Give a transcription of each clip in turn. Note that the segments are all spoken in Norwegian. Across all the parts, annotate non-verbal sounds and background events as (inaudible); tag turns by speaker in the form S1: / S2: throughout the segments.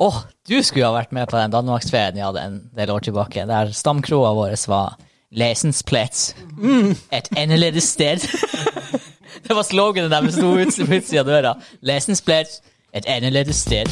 S1: Åh, du skulle ha vært med på den Danmarksferien jeg hadde en del år tilbake, der stamkroa vår var Lesensplets. Et annerledes sted. (laughs) det var sloganet der vi sto ut- på utsida av døra. Lesensplets. Et annerledes sted.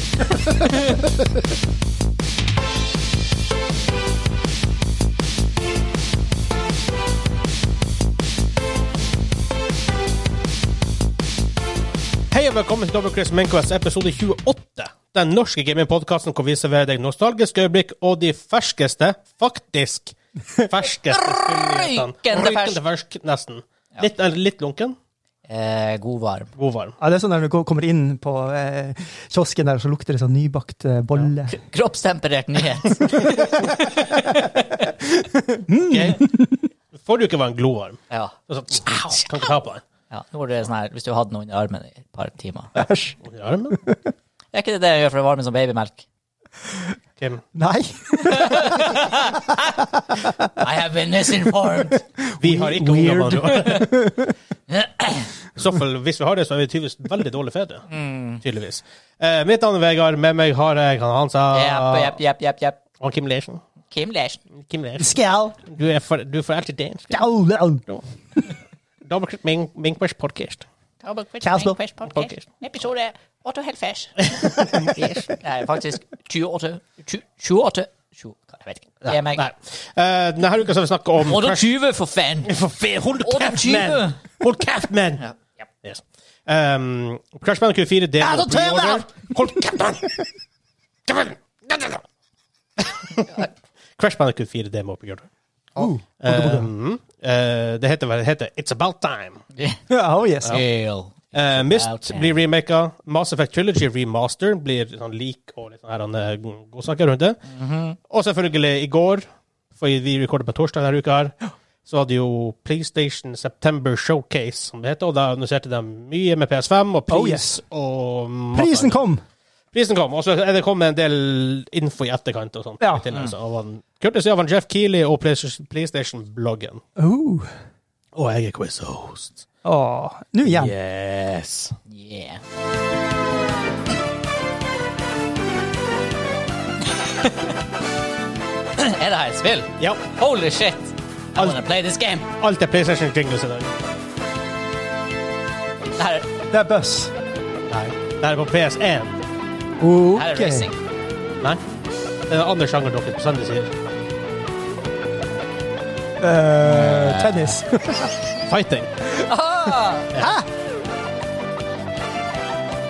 S2: Hei og velkommen til WCS Mainquest episode 28. Den norske gamingpodkasten hvor vi serverer deg nostalgiske øyeblikk og de ferskeste, faktisk ferskeste spillnyhetene.
S1: Rykende fersk.
S2: Rykende fersk, nesten. Litt, eller litt lunken,
S1: Eh, god varm.
S2: god
S3: (laughs)
S2: varm.
S3: Ja, det er sånn når du ko- kommer inn på eh, kiosken der, så lukter det sånn nybakt eh, bolle.
S1: Kroppstemperert nyhet.
S2: Forrige uke var en glovarm.
S1: Ja.
S2: Og så- Kan ikke ta på den.
S1: ja. Nå er det sånn her, hvis du hadde noe under armen i et par timer.
S3: Æsj.
S2: Under armen?
S1: Er ikke det det jeg gjør for å varme som babymelk?
S2: Kim.
S3: Nei.
S1: I have been misinformed.
S2: Vi har ikke
S3: Weird.
S2: ungdommer nå.
S3: (laughs)
S2: I så fall, hvis vi har det, så er vi tydeligvis veldig dårlige fedre. Tydeligvis. Eh, mitt navn er Vegard. Med meg har jeg han Hansa
S1: Jepp, jepp, jepp, jepp, jepp.
S2: og Kim Leirsen.
S1: Kim Lersen.
S2: Kim Leirsen.
S3: Skjæl.
S2: Du er for, du er for alltid dansk.
S3: Skjæl. Skjæl.
S2: Dobbeltklipp Ming- Minkbæsj podcast.
S3: Kjæslo.
S2: Podcast.
S1: Episode 78. (laughs) Nei, faktisk 28. 20, 28. Tju- Jeg vet ikke. Det er meg.
S2: Nei. Eh, denne uka skal vi snakke om
S1: 28, for faen!
S2: Crash- For fe- Hold
S1: Å, det er
S2: kjeft,
S1: 20.
S2: man! Hold kjeft, man! Yes. Um, Crash Band 24 del
S1: Ja, da
S2: og
S1: tør jeg
S2: pre-order.
S1: det!
S2: Hold kjeft, man! Kjeft, man! Crash Band 24 demo på Gjørv.
S3: Oh.
S2: Um, eh, det heter hva det heter. It's About Time.
S3: oh yes.
S1: Hell.
S2: Eh,
S1: About
S2: Mist
S1: Time.
S2: blir remaka. Mass Effect Trilogy remaster blir sånn lik og litt sånn her, han, eh, god- godsaker rundt det.
S3: Mhm.
S2: Og selvfølgelig i går, for vi rekorder på torsdag denne uka, her, så hadde jo PlayStation September Showcase, som det heter, og da annonserte de mye med PS5 og pris
S3: Oh, yes.
S2: og masse
S3: Prisen
S2: annet.
S3: kom!
S2: Prisen kom, og så er det kommet en del info i etterkant og sånt.
S3: Ja.
S2: Til, altså, av han, courtesy av han Jeff Keeley og Playsta- PlayStation-bloggen.
S3: Oh.
S2: Og jeg er quiz-host.
S3: Åh. Nå igjen.
S2: Yes.
S1: Yeah. (laughs) er det her et spill?
S2: Ja,
S1: Holy shit! I wanna play this game.
S2: alt er PlayStation-jingles i dag.
S1: Det her,
S3: Det er buss.
S2: Nei. Det her er på PS1.
S1: her er
S3: OK.
S1: racing.
S2: Nei. Eh, Det er en annen sjanger dere bestandig sier.
S3: Eh, tennis. (laughs)
S2: Fighting.
S1: Ah!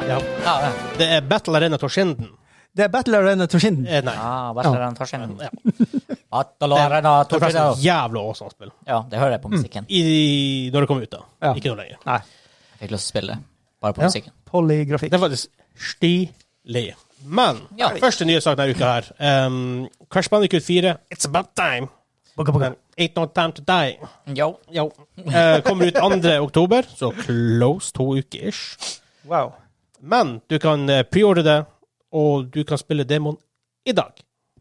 S2: Ja.
S1: Ah,
S2: Det er Battle Arena Torshinden.
S3: Det er Battle Arena Toshinden.
S2: Eh, nei.
S1: ah, Barcelona tar seg
S2: (laughs)
S1: en
S2: Ja.
S1: Atalorena
S2: Det er Mm.
S1: Torpedo.
S2: forresten jævla awesome spill.
S1: Ja, det hører jeg på musikken.
S2: I, når det kom ut, da.
S3: Ja.
S2: Ikke noe lenger.
S3: Nei.
S1: Jeg fikk lyst til å spille det, bare på
S3: Ja.
S1: musikken.
S3: Polygrafikk.
S2: Det er faktisk stilig. Men
S1: Ja.
S2: første nye sak denne uka her. Um, Crash Bandicoot 4, It's About Time.
S3: Boka, boka.
S2: Ain't No Time To Die.
S1: Yo.
S2: Jo. Eh, kommer ut 2. oktober, så close to uker ish.
S3: Wow.
S2: Men du kan eh, preordre det, og du kan spille demoen i dag.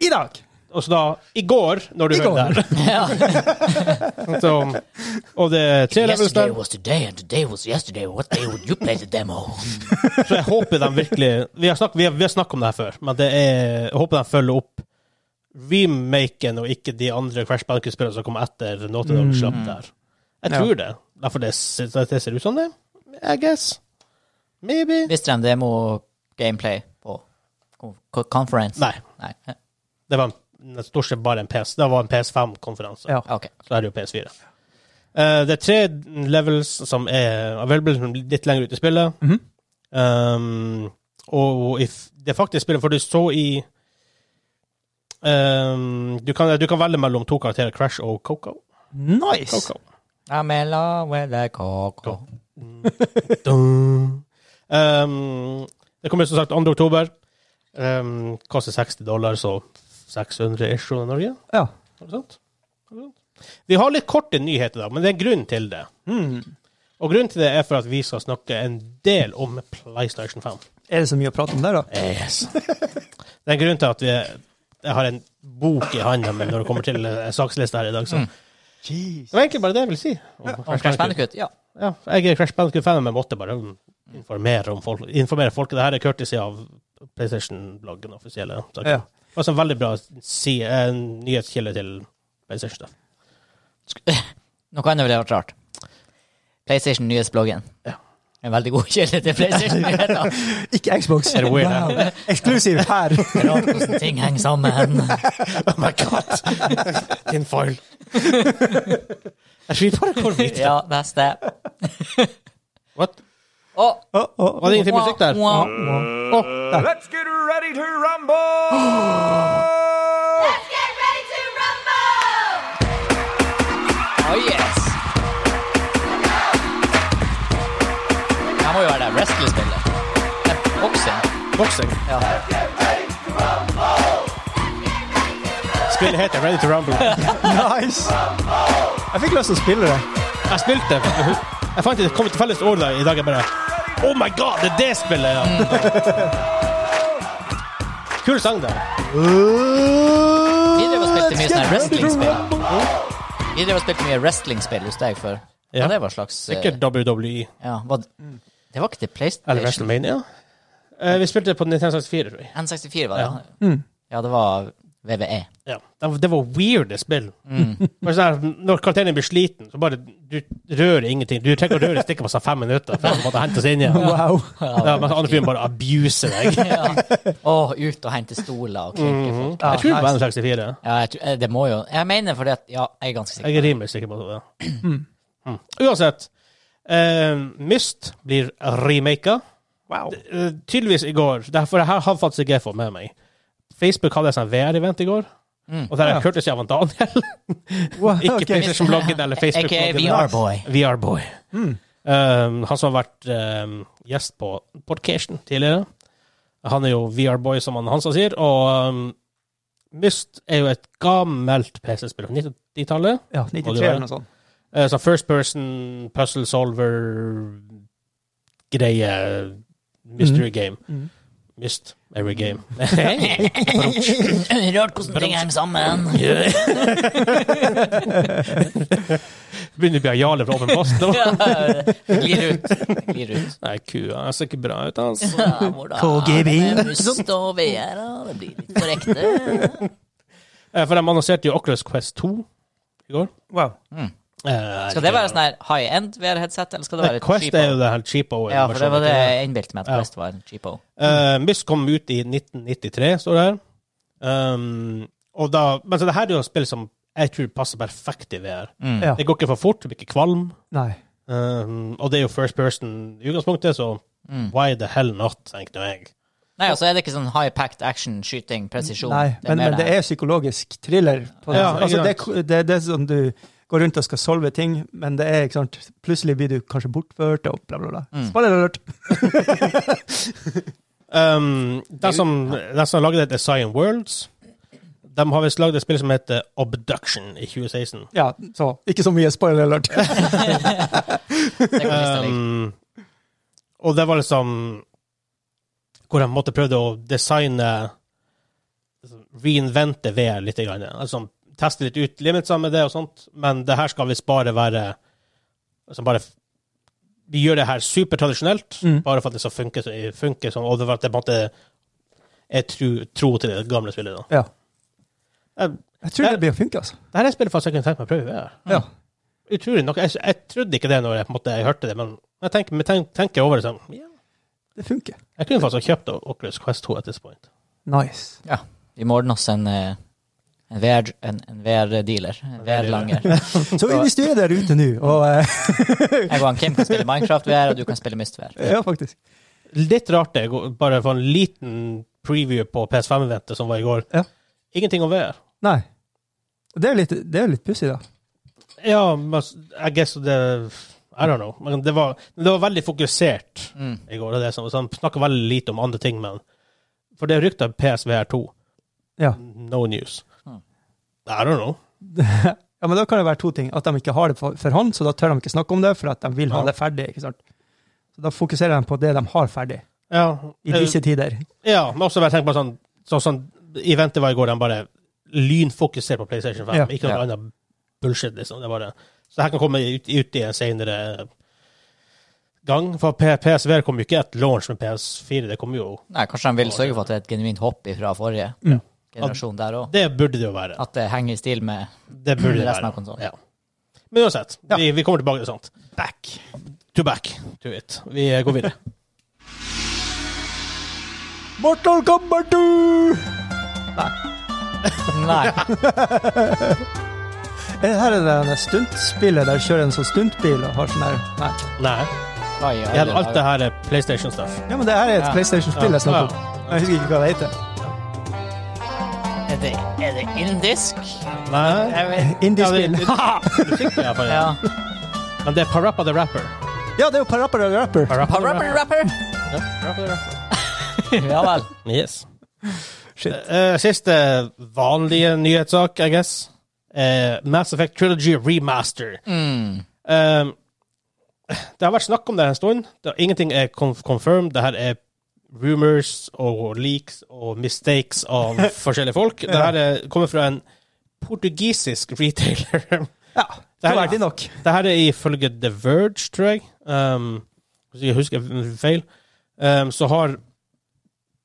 S3: I dag.
S2: Og så da i går, når du
S3: I
S2: hører det her. (laughs) så, og det er tre levels der,
S1: was today, and today was yesterday. What day would you play the demo? (laughs)
S2: så jeg håper de virkelig Vi har snakket, vi har, vi har snakket om det her før, men det er, jeg håper de følger opp remaken og ikke de andre Crash Bandicoot-spillene som kom etter Naughty Dog slapp der. Jeg
S3: Mm. Ja.
S2: tror det. Derfor det, ser- det ser ut som det. I guess. Maybe.
S1: Visste de demo-gameplay på ko- conference?
S2: Nei.
S1: Nei.
S2: Det var en- stort sett bare en PS. Det var en PS5-konferanse.
S3: Ja.
S1: Ok.
S2: Så er det jo PS4. Eh, det er tre levels som er available som er litt lenger ut i spillet. um, og if, det er faktisk spillet, for du så i um, du, kan, du kan velge mellom to karakterer, Crash og Coco.
S3: Nice.
S2: Coco.
S1: I'm in love with a coco.
S2: Dun. Um, det kommer som sagt 2. oktober. Um, koster 60 dollar, så 600 ish i Norge.
S3: Ja.
S2: Er det sant? Er det sant? Vi har litt korte nyheter, da, men det er en grunn til det. Og grunnen til det er for at vi skal snakke en del om PlayStation 5.
S3: Er det så mye å prate om der, da?
S2: (laughs) Det er en grunn til at vi jeg har en bok i hånda med når det kommer til eh, sakslista her i dag. Så.
S3: Jeez.
S2: Det var egentlig bare det jeg ville si. Om
S1: Om Mm. Crash Bandicoot? Ja.
S2: Ja, jeg er Crash Bandicoot-fan, men måtte bare mm, informere, om folk, informere folket. Det her er courtesy av PlayStation-bloggen offisielle. saken.
S3: Ja.
S2: Det var også en veldig bra si, eh, nyhetskilde til PlayStation. Da.
S1: Noe annet ville vært rart. PlayStation Nyhetsbloggen.
S2: Ja.
S1: En veldig god kilde til (laughs) PlayStation Nyheter.
S3: Ikke Xbox.
S2: Er det weird, ja?
S3: Eksklusiv her. (laughs)
S1: Rart hvordan ting henger (laughs) sammen.
S2: Oh my god! Tinfoil. (laughs) Jeg skiter bare hvor vidt.
S1: Ja, neste.
S2: What?
S1: Å,
S3: Å, å, å.
S2: Var det ingenting musikk der?
S1: Oh, Wah,
S2: Å, der.
S4: Let's get ready to rumble!
S5: Let's get ready to rumble!
S1: oh yes! Det må jo være det wrestlingspillet. Det er Boksing.
S2: Boksing.
S1: Ja.
S2: Spillet heter Ready to Rumble.
S3: Nice! Jeg fikk lyst til å spille det.
S2: Jeg spilte Jeg fant det kom til felles ord da, i dag. Jeg bare Oh my god, det er det spillet! Ja. Kul sang, da.
S1: Vi drev og spilte mye sånne
S3: Let's get ready to
S1: wrestlingspill.
S3: rumble.
S1: Vi drev og spilte mye wrestlingspill hos deg før.
S2: Ja.
S1: Ja, det var slags eh,
S2: Sikkert WWE
S1: ja, var det, mm. det var ikke til
S2: eller
S1: PlayStation.
S2: E WrestleMania. Eh, vi spilte det på Nintendo 64, tror jeg.
S1: N64 var det. Ja, det var E. VVE.
S2: Ja. Det, var- det var weirde spill.
S1: Mm.
S2: Bare sånn her, når karakteren blir sliten, så bare Du rører ingenting. Du trenger ikke å røre stikket på seg fem minutter før han måtte hente
S1: (laughs)
S2: seg inn igjen.
S3: Wow.
S2: Ja, mens andre fyren bare abuser deg.
S1: ja. Å, ut og hente stoler og krenke folk.
S2: Jeg tror det var N64.
S1: Ja, jeg, tror- eh, det må jo Jeg mener fordi at Ja, jeg er ganske sikker.
S2: Jeg er rimelig sikker på det. Ja. Mm. Uansett. eh, Myst blir remaka.
S3: Wow.
S2: Eh, tydeligvis i går. Derfor her har faktisk ikke jeg fått med meg. Facebook hadde et sånt VR-event i går. Og der
S3: Mm. Ja.
S2: hørtes jeg av han
S3: (laughs)
S2: Daniel.
S1: (laughs)
S3: Wow,
S2: ikke
S3: ok.
S1: sånn
S2: PlayStation-bloggen eller
S1: AKA
S2: Facebook-bloggen. (laughs)
S1: VR-boy.
S2: VR-boy. Um, han som har vært um, gjest på Podcation tidligere. Han er jo VR-boy, som han Hansa sier. Og um, Myst er jo et gammelt PC-spill fra 90-tallet.
S3: Ja, 93 eller noe sånt.
S2: Eh, sånn first person puzzle solver greie mystery game.
S3: Mhm.
S2: Mist every game.
S1: (laughs) Rart hvordan ting henger sammen.
S2: (laughs) Begynner å bli Jarle fra Åpen post nå.
S1: Ja, Glir ut. Glir ut.
S2: Nei, kua jeg ser ikke bra ut, altså.
S1: Ja, hvordan-
S3: KGB.
S1: Med Must og VR, og det blir litt for ekte.
S2: Eh, For de annonserte jo Oculus Quest 2 i går.
S3: Wow.
S2: Eh,
S1: Mm. Skal det være sånn her high end VR-headset, eller skal det være
S2: Nei,
S1: et
S2: Quest er jo
S1: cheapo?
S2: det her cheapo.
S1: Ja, for det var
S2: versjonen.
S1: det jeg innbilte meg at
S2: Ja.
S1: Quest var en cheapo.
S2: Eh, Myst kom ut i 1993, står det her. Um, og da, men så det her er jo et spill som jeg tror passer perfekt i VR.
S1: Mm.
S3: Ja.
S2: Det går ikke for fort, du blir ikke kvalm.
S3: Nei.
S2: Um, og det er jo first person i utgangspunktet, så
S1: Mm.
S2: why the hell not, tenkte jeg.
S1: Nei, altså er det ikke sånn high packed action, skyting, presisjon.
S3: Nei. Men, men det er psykologisk thriller. På det.
S2: Ja, ikke
S3: altså, det,
S2: sant.
S3: det, det er sånn du går rundt og skal solve ting, men det er ikke sant, plutselig blir du kanskje bortført og bla, bla, bla.
S1: Mm.
S3: Spoiler alert.
S2: Um, de, som, de som lagde det, er Cyan Worlds. De har visst lagd et spill som heter Obduction i 2016.
S3: Ja, så ikke så mye spoiler alert.
S1: det kan jeg like.
S2: Um, og det var liksom Hvor de måtte prøvde å designe liksom, Reinvente VR litt. Grann, altså, teste litt ut limitsa med det og sånt. Men det her skal visst bare være altså, bare, Vi gjør det her supertradisjonelt,
S3: Mm.
S2: bare for at det skal funke, så- funke sånn, og det var at det på en måte er tro, tro til det gamle spillet. Da.
S3: Ja.
S2: Eh,
S3: Jeg tror det blir å funke, altså.
S2: Det her er spillet faktisk jeg kunne tenkt meg å prøve. VR.
S3: Ja.
S2: Utrolig nok. Jeg, jeg trodde ikke det når jeg, på en måte, jeg hørte det, men jeg tenker, men tenk, tenker over det sånn ja,
S3: Det funker.
S2: Jeg kunne faktisk ha kjøpt Oculus Quest 2 at this point.
S3: Nice.
S1: Vi må ordne oss en, eh, en VR-dealer. En, en VR-dealer. En
S3: (laughs)
S1: VR-langer.
S3: Så hvis du er der ute nå, og eh, (laughs)
S1: Jeg og han Kim kan spille Minecraft VR, og du kan spille Myst VR.
S3: Ja, faktisk.
S2: Litt rart det, går- bare for en liten preview på PS5-eventet som var i går.
S3: Ja.
S2: Ingenting om VR.
S3: Nei. Det er litt, det er litt pussig, da.
S2: Ja, men I guess det I don't know. Men det var, men det var veldig fokusert
S1: Mm.
S2: i går. Det er det som, så han snakka veldig lite om andre ting, men For det er rykter om PSVR 2.
S3: Ja.
S2: No news.
S1: Hmm.
S2: I don't know.
S3: ja, Men da kan det være to ting. At de ikke har det for, for hånd, så da tør de ikke snakke om det, for at de vil ha
S2: Ja.
S3: det ferdig. ikke sant? Så da fokuserer de på det de har ferdig,
S2: Ja,
S3: i
S2: eh,
S3: disse tider.
S2: Ja, men også bare tenk på sånn, sånn, sånn Eventet var i går, de bare lynfokusert på PlayStation 5.
S3: Ja.
S2: ikke noe
S1: Ja.
S2: annet bullshit, liksom. Det er bare, så her kan komme ut, ut i en senere gang. For P- PSV kom jo ikke et launch med PS4. Det kom jo
S1: Nei, kanskje de vil sørge for at det er et genuint hopp fra forrige
S3: Ja.
S1: generasjon der òg.
S2: Det burde det jo være.
S1: At det henger i stil med
S2: Det burde det
S1: resten av
S2: være.
S1: konsollen.
S2: Ja. Men uansett,
S3: Ja.
S2: vi, vi kommer tilbake til sånt.
S3: Back.
S2: To back to it. Vi eh, går videre.
S3: Mortal Kombat 2!
S1: Nei.
S3: Er det Eh, her det der stuntspillet der du kjører en sånn stuntbil og har sånn der Nei.
S2: Nei.
S1: hva i
S2: Jeg hadde
S1: alle
S2: alt det her er PlayStation-stuff.
S3: Ja, men det her er et
S1: Ja.
S3: PlayStation-spill jeg snakker om. Jeg husker ikke hva det heter.
S1: dager? Er det, er det indisk?
S2: Nei.
S1: Jeg vet
S2: Ja, det, (laughs)
S3: Indiespill.
S2: det, musikk, i hvert fall, ja.
S1: (laughs) Ja.
S2: Men det er Parappa the Rapper.
S3: Ja, det er jo Parappa the Rapper.
S2: Parappa the
S1: Rapper, rapper!
S2: Ja, Parappa the Rapper.
S1: Ja vel.
S2: Yes.
S3: Shit.
S2: Eh, siste vanlige nyhetssak, I guess. Eh, Mass Effect Trilogy Remaster.
S1: Mm.
S2: Eh, det har vært snakk om det en stund. Det, ingenting er conf confirmed. Det her er rumors og leaks og mistakes av forskjellige folk. Det her er, kommer fra en portugisisk retailer.
S3: Ja, det
S2: her-
S3: var verdig nok.
S2: Det her er ifølge The Verge, tror jeg. Um, hvis jeg husker feil. Um, så har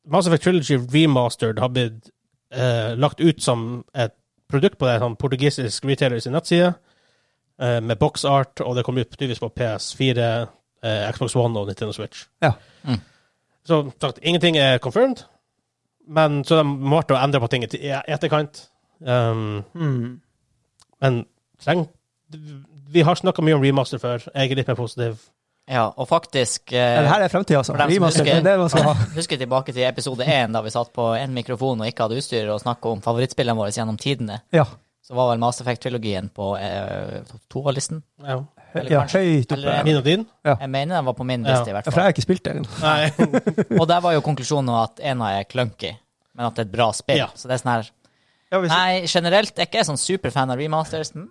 S2: Mass Effect Trilogy Remastered har blitt eh, lagt ut som et produkt på det, sånn portugisisk retailer sin nettside, eh, med boxart, og det kommer ut tydeligvis på PS4, eh, Xbox One og Nintendo Switch.
S3: Ja.
S1: Mm.
S2: Så som sagt, ingenting er confirmed, men så de måtte endre på ting i i etterkant. Um,
S1: Hmm.
S2: men treng, vi har snakka mye om remaster før. Jeg er litt mer positiv.
S1: Ja, og faktisk eh,
S3: Det her er fremtiden, altså.
S1: For dem som
S3: Remaster, det
S1: husker-
S3: er det man skal ha.
S1: Husker tilbake til episode én, da vi satt på én mikrofon og ikke hadde utstyr, og snakka om favorittspillene våre gjennom tidene.
S3: Ja,
S1: Så var vel Mass Effect-trilogien på eh, topp to-listen.
S2: Ja.
S1: Eller
S3: ja
S1: kanskje-
S3: høyt oppe.
S1: eller-
S2: Min og din?
S1: Jeg mener den var på min
S2: Ja.
S1: liste, i hvert
S3: Ja, for jeg
S1: fall.
S3: har ikke spilt det. ennå.
S2: Nei.
S1: Og der var jo konklusjonen at ena er clunky, men at det er et bra spill.
S2: Ja.
S1: Så det er sånn her
S3: Ja, hvis-
S1: Nei, generelt er ikke jeg sånn superfan av remasters, men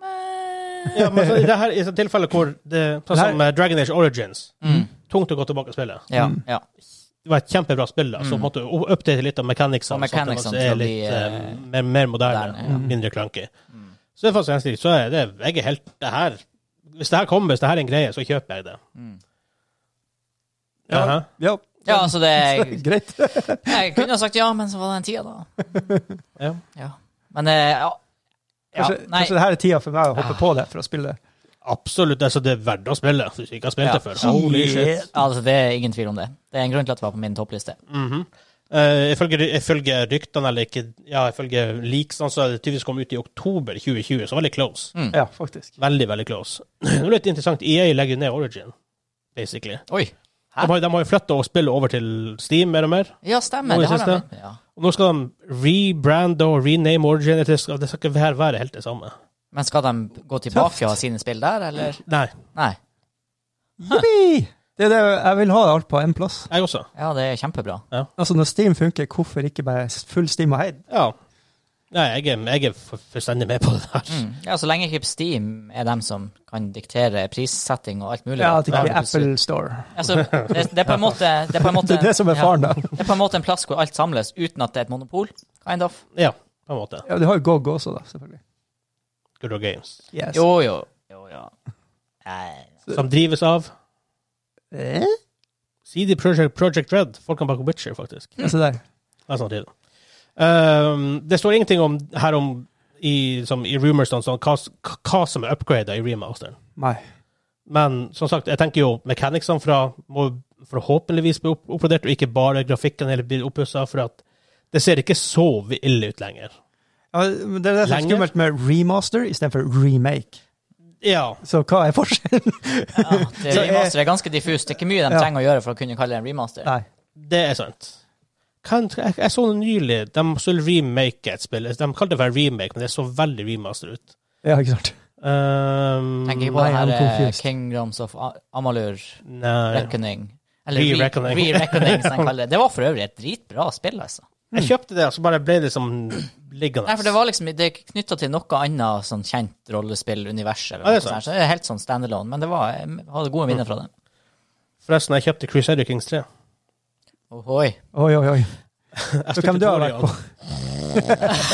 S2: Ja, men så, i det her i sånne tilfeller hvor det, Sånn som eh, Dragon Age Origins.
S1: Mm.
S2: Tungt å gå tilbake og spille.
S1: Ja.
S3: Mm.
S1: ja.
S2: Det var et kjempebra spill. da, Så
S1: Mm.
S2: måtte du update litt av
S1: Og
S2: mechanicsene. sånn at det
S1: mechanicsene
S2: også
S1: til å
S2: er
S1: bli,
S2: litt eh,
S1: eh,
S2: mer, mer moderne.
S1: moderne, ja. Mm.
S2: Mindre clunky. Så det er faktisk ganske så er det, jeg er helt det her, Hvis det her kommer, hvis det her er en greie, så kjøper jeg det.
S1: Mm.
S3: Ja.
S2: Aha.
S3: Ja,
S1: ja, altså det
S3: (laughs) greit.
S1: Jeg kunne ha sagt ja, men så var det den tida, da.
S3: (laughs)
S2: Ja.
S1: Ja. Men eh, ja. ja.
S3: Kanskje,
S1: Nei.
S3: kanskje det her er tida for meg å hoppe på det for å spille det.
S2: Absolutt. altså Det er verdt å spille hvis du ikke har spilt
S1: Ja.
S2: det før. Holy shit.
S1: Altså, det er ingen tvil om det. Det er en grunn til at det var på min toppliste.
S2: Mhm. Eh, ifølge, ifølge ryktene, eller ikke, ja, ifølge leaksene, så er det tydeligvis kommet ut i oktober 2020, så veldig close.
S1: Mm.
S3: Ja, faktisk.
S2: Veldig, veldig close. (clears throat) Det er litt interessant, EA legger ned Origin, basically.
S1: Oi. Hæ?
S2: De har, de har jo flytta og spillet over til Steam mer og mer.
S1: Ja, stemmer.
S2: Nå i
S1: Det har jeg
S2: siste.
S1: med. Ja.
S2: Og nå skal de rebrande og rename Origin. Det skal, det skal ikke være, være helt det samme.
S1: Men skal de gå tilbake og ha sine spill der, eller?
S2: Nei.
S3: Mm.
S1: Nei.
S3: Yippee! Det er det jeg vil ha alt på én plass.
S2: Jeg også.
S1: Ja, det er kjempebra.
S3: Altså, når Steam funker, hvorfor ikke bare full Steam og heid?
S2: Ja. Nei, jeg er, jeg er for- fullstendig med på det her.
S1: Mm. Ja, Så lenge ikke Steam er dem som kan diktere prissetting og alt mulig.
S3: Ja,
S1: da.
S3: at det ikke blir
S1: Ja,
S3: Apple Store.
S1: Altså, det, det er på en måte Det er, på en måte,
S3: (laughs) Det er det som er faren, da.
S1: Ja, det er på en måte en plass hvor alt samles, uten at det er et monopol. Kind of.
S2: Ja, på en måte.
S3: (laughs) Ja, du har jo GOG også, da, selvfølgelig.
S2: Good old Games.
S3: Yes.
S1: Jo, jo. Jo, ja. Nei.
S2: Som drives av
S3: Eh?
S2: CD Projekt, Projekt Red. Folkene bak Witcher, faktisk.
S3: Ja, se Altså, der.
S2: Det er sant, det. Ehm, det står ingenting om, her om i, som i rumorsene, sånn, hva, s- k- hva som er upgrada i remasteren.
S3: Nei.
S2: Men som sagt, jeg tenker jo mechanicsene fra må forhåpentligvis bli opp- oppgradert, og ikke bare grafikken eller bli oppussa, for at det ser ikke så ille ut lenger.
S3: Ja, men det er det som er
S2: Lenger?
S3: skummelt med remaster istedenfor remake.
S2: Ja.
S3: Så hva er forskjellen?
S1: Ja, det
S3: Så er-
S1: remaster er ganske diffust. Det er ikke mye de
S3: Ja.
S1: trenger å gjøre for å kunne kalle det en remaster.
S3: Nei.
S2: Det er sant. Kan, jeg, jeg så nylig de skulle remake et spill. De kalte det for en remake, men det så veldig remaster ut.
S3: Ja, ikke sant.
S2: Um,
S1: Tenker ikke på
S3: Nei,
S1: den her
S3: I'm
S1: eh,
S3: confused.
S1: Kingdoms of A- Amalur
S2: nei.
S1: Reckoning. Eller
S2: Re-Reckoning.
S1: Re- Re-Reckoning,
S2: (laughs)
S1: som de kaller det. Det var for øvrig et dritbra spill, altså.
S2: Jeg kjøpte det, og så bare ble det som liggende.
S1: Nei, for det var liksom Det er knytta til noe annet sånn kjent rollespill-univers. eller
S2: Ja, det er
S1: noe sånt her, Så det er helt sånn standalone. Men det var, jeg hadde gode minner fra det.
S2: Forresten, jeg kjøpte Crusader Kings 3.
S1: Ohoi.
S3: Oi, oi, oi.
S2: Jeg
S3: Så hvem du har vært på?
S2: (laughs)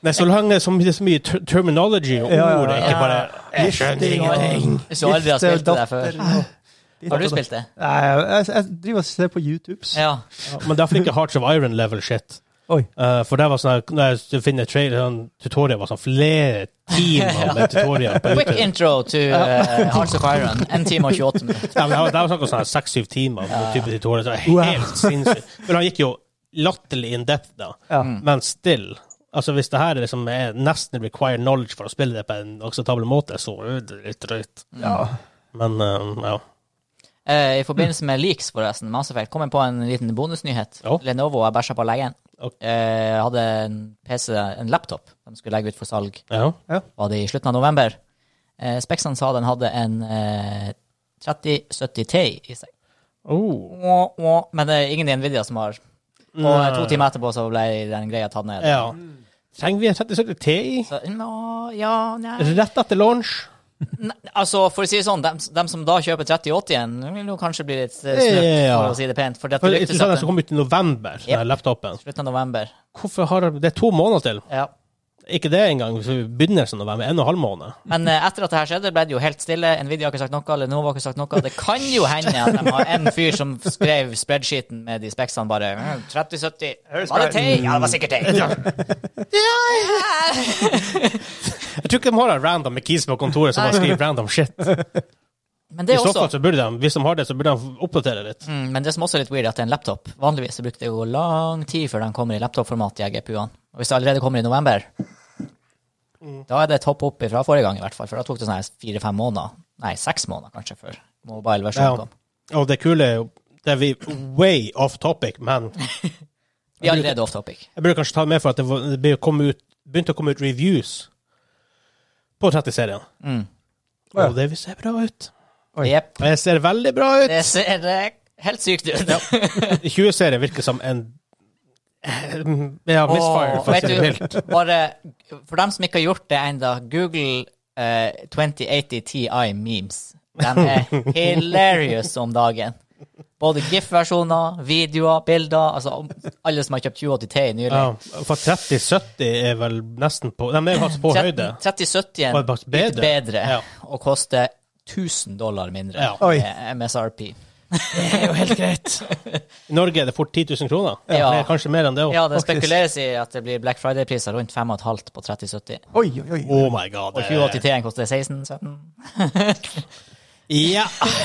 S2: Nei, så lenge som det er så mye ter terminology og
S3: Ja, ja, ja.
S2: ord, ikke bare Jeg skjønner
S3: Gifting og-
S2: ingenting.
S1: Hvis du aldri har
S3: Gifte
S1: spilt det der
S3: datter
S1: før.
S3: og-
S1: Har du spilt det?
S3: Nei, jeg, jeg driver og ser på YouTube.
S1: Ja.
S2: Ja, men derfor ikke Hearts of Iron level shit.
S3: Oi.
S2: Eh, for det var sånn her- når jeg finner trailer, sånn tutorial var sånn flere
S3: (laughs)
S2: timer med tutorial på
S1: Quick
S2: YouTube.
S1: intro to eh, Hearts of Iron. 1 time og 28 minutter.
S2: Ja, men det var- det var snakk om sånn seks-syv timer på type tutorial. Så det
S3: Wow.
S2: var helt sinnssykt. Men han gikk jo latterlig in depth da.
S3: Ja.
S1: Mm,
S2: Men still. Altså Hvis det her er liksom er nesten required knowledge for å spille det på en akseptabel måte, så er det litt drøyt.
S1: mm.
S3: ja.
S2: Men eh, ja.
S1: Eh, I forbindelse med leaks, forresten, Mass Effect, kom jeg på en liten bonusnyhet.
S2: Ja.
S1: Lenovo har bæsja på legen.
S2: Ok.
S1: Eh, hadde en PC, en laptop, de skulle legge ut for salg.
S2: ja.
S1: var det i slutten av november. Eh, Spexan sa den hadde en eh, 3070 Ti i seg.
S2: Oh.
S1: Åh, åh. Men det er ingen i Nvidia som har. Og eh,
S2: Nei.
S1: to timer etterpå så ble den greia tatt ned.
S2: ja. Trenger vi en 3070 Ti
S1: Så, nå, ja, nei.
S2: rett etter launch?
S1: nei Altså, for å si det sånn, dem, dem som da kjøper 3080-en, vil jo kanskje bli litt eh, snurt,
S2: Ja.
S1: for å si det pent. For
S2: For
S1: dette
S2: det er
S1: lyktes
S2: den
S1: at den
S2: som kom ut i november, den her
S1: Yep.
S2: laptopen.
S1: slutten av november.
S2: Hvorfor har Det er to måneder til.
S1: Ja.
S2: Ikke det engang. så i Begynnelsen av november. En og en halv måned.
S1: Men eh, etter at det her skjedde, ble det jo helt stille. Nvidia har ikke sagt noe, Lenovo har ikke sagt noe. Det kan jo hende at de har en fyr som skrev spreadsheeten med de speksene bare mm, 3070. Var det te? Ja, det var sikkert te.
S2: Jeg tror ikke de har en random med keys på kontoret som bare skriver random shit.
S1: Men
S2: I
S1: det, er
S2: så fall
S1: også,
S2: så burde de, Hvis de har det, så burde de oppdatere litt.
S1: mm, men det som også er litt weird, er at det er en laptop. Vanligvis så bruker det jo lang tid før den kommer i laptopformat, de her GPU-ene. Og hvis det allerede kommer i november,
S2: Mm.
S1: da er det et hopp opp fra forrige gang, i hvert fall. For da tok det sånn her fire-fem måneder. Nei, seks måneder kanskje, før
S2: Ja.
S1: mobile-versjonen kom.
S2: Og det kule er jo Det er vi way off topic, men
S1: Vi er allerede off topic.
S2: jeg burde kanskje ta med for at det, var, det ble- kom ut, begynte å komme ut reviews på 30-serien.
S1: Mm.
S3: Å, ja.
S2: Og det vil se bra ut.
S3: Oi.
S1: Jepp.
S2: Og jeg ser veldig bra ut.
S1: Det ser eh, helt sykt ut.
S2: 20-serien virker som en Ja, misfire,
S1: Åh,
S2: for å
S1: vet
S2: si det
S1: du,
S2: mildt.
S1: Bare, for dem som ikke har gjort det ennå, google eh, 2080 Ti memes. De er
S2: (laughs)
S1: hilarious om dagen. Både GIF-versjoner, videoer, bilder. Altså om- alle som har kjøpt 2080 Ti nylig.
S2: Ja, for 30-70 er vel nesten på De er faktisk på høyde.
S1: 3070
S2: Var
S1: er
S2: det faktisk
S1: litt
S2: bedre?
S1: bedre
S2: Ja.
S1: og koster 1000 dollar mindre
S2: Ja.
S3: Oi.
S1: med MSRP. Det er jo helt greit.
S2: I Norge er det fort 10 000 kroner.
S1: Ja.
S2: Mer, kanskje mer enn det òg.
S1: Ja, det
S3: Faktisk.
S1: spekuleres i at det blir Black Friday-priser rundt 5,5 på 3070.
S3: Oi, oi, oi.
S2: Oh my
S1: Og
S2: god. det-
S1: 2080 Ti koster 16-17.
S2: Ja.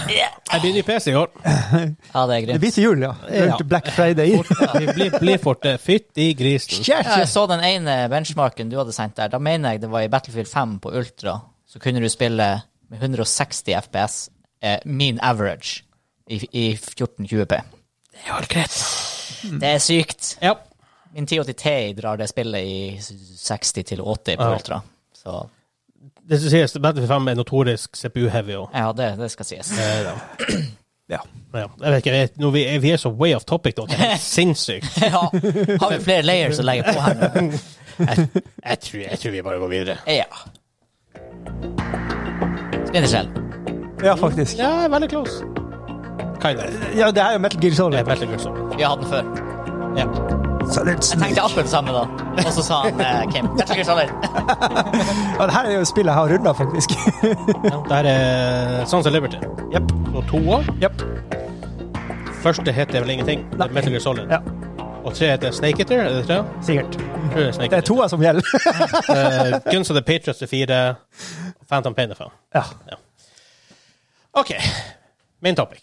S2: Jeg blir ny PC i år.
S1: Ja, det er
S3: Det
S1: grymt.
S3: blir til jul, ja. Rundt
S2: Ja.
S3: Black Friday.
S2: Vi blir, blir fort det. Fytti grisen.
S1: Ja, Jeg så den ene benchmarken du hadde sendt der. Da mener jeg det var i Battlefield 5 på Ultra. Så kunne du spille med 160 FPS, eh, min average, i, i 1420P. Det er helt greit. Det er sykt.
S2: Ja.
S1: Min 1080 Ti drar det spillet i 60 til 80 på
S2: Ja.
S1: Ultra. Så
S2: Det som sies, Battlefield 5 er notorisk CPU-heavy òg.
S1: ja, det, det skal sies. (laughs)
S3: Ja.
S2: Ja. Jeg vet ikke, jeg vet, nå, vi, er, vi er så way off topic, da. Det er (laughs) helt sinnssykt.
S1: Ja, har vi flere layers å legge på her (laughs) nå?
S2: Jeg tror, jeg tror vi bare går videre.
S1: Ja. Spinnerskjell.
S3: ja, faktisk.
S2: Ja, veldig close. Kind of.
S3: Ja, det her er jo Metal Gear
S2: Det
S3: Solid.
S2: er Metal Gear Solid.
S1: Vi har hatt den før.
S2: Ja.
S3: Solid
S1: Jeg
S3: Snake.
S1: tenkte akkurat det samme da. Og så sa han eh, Kim Metal Gear Solid.
S3: Ja, det her er jo spillet jeg har runda,
S2: (laughs)
S3: faktisk.
S2: Ja, Der er Sons of Liberty.
S3: Jepp.
S2: Og to år.
S3: Jepp.
S2: Første heter vel ingenting. Det er Metal Gear Solid.
S3: Ja,
S2: Og tre heter Snake Eater. Er det tre?
S3: sikkert.
S2: Jeg tror det er Snake
S3: Det er toa som gjelder. (laughs)
S2: Eh, Guns of the Patriots er fire. Phantom Pain er fem.
S3: Ja.
S2: OK. Main topic.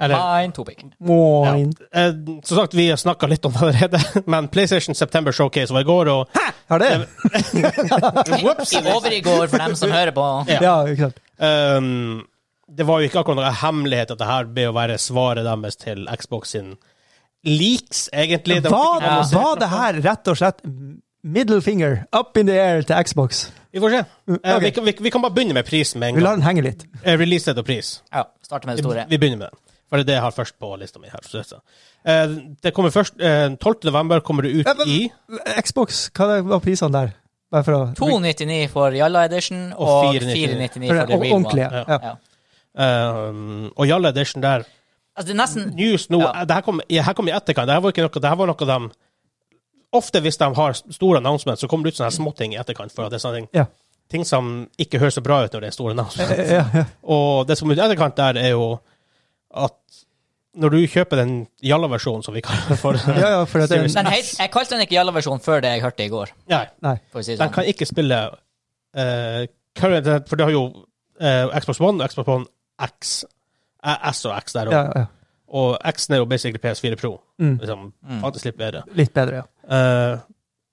S2: Eller
S1: Fine topic.
S2: ja.
S3: Moin.
S2: Eh, Som sagt, vi har snakka litt om det allerede, (laughs) men PlayStation September Showcase var i går, og
S3: Har det?
S1: I over i går, for dem som hører på.
S2: Ja.
S3: Ja, ikke sant.
S2: ehm, det var jo ikke akkurat noen hemmelighet at det her ble å være svaret deres til Xbox sin leaks, egentlig. Det var
S3: Var,
S2: ikke noe annonsert.
S3: var det her rett og slett middle finger up in the air til Xbox?
S2: Vi får se. Eh,
S3: Mm, ok.
S2: vi, kan- vi, vi kan bare begynne med prisen med en
S3: Vi lar
S2: gang.
S3: den henge litt.
S2: Eh, Releasedate og pris.
S1: Ja, Starter med det store.
S2: Vi begynner med den. For det er det jeg har først på lista mi. her. Så det, er så. Eh, det kommer først eh, 12. november kommer det ut
S3: Ja, men-
S2: i
S3: Xbox, hva var prisene der? Bare for å
S1: 299 for Jalla Edition og
S2: 499
S1: 499
S3: for
S1: for
S3: det
S1: The Real One.
S3: ordentlige.
S2: one.
S3: Ja.
S1: Ja.
S2: eh, Og Jalla Edition der.
S1: Altså, det er nesten
S2: News nå
S1: Ja.
S2: eh, det her kom, ja, her kom i etterkant. Det her var ikke noe, det her var noe de Ofte hvis de har store announcements, så kommer det ut sånne her småting i etterkant. for at det er sånne ting,
S3: Ja.
S2: ting
S3: (laughs)
S2: som ikke høres så bra ut når det er store announcements.
S3: Ja, ja.
S2: Og det som er i etterkant der, er jo at når du kjøper den jalla-versjonen, som vi kaller den for
S3: (laughs)
S2: (laughs)
S3: Ja, ja, for at det,
S2: Serious.
S1: Den het, jeg kalte den ikke Jalla-versjonen før det jeg hørte i går.
S2: Nei,
S3: Nei.
S1: For å si det
S2: den
S1: sånn.
S2: kan ikke spille eh, current, For det har jo eh, Xbox One og Xbox One X. Eh, S og X der òg.
S3: Ja, ja.
S2: Og X-en er jo basically PS4 Pro.
S3: Mm.
S2: Liksom,
S1: Mm.
S2: Faktisk litt bedre.
S3: Litt bedre, ja.
S2: Eh,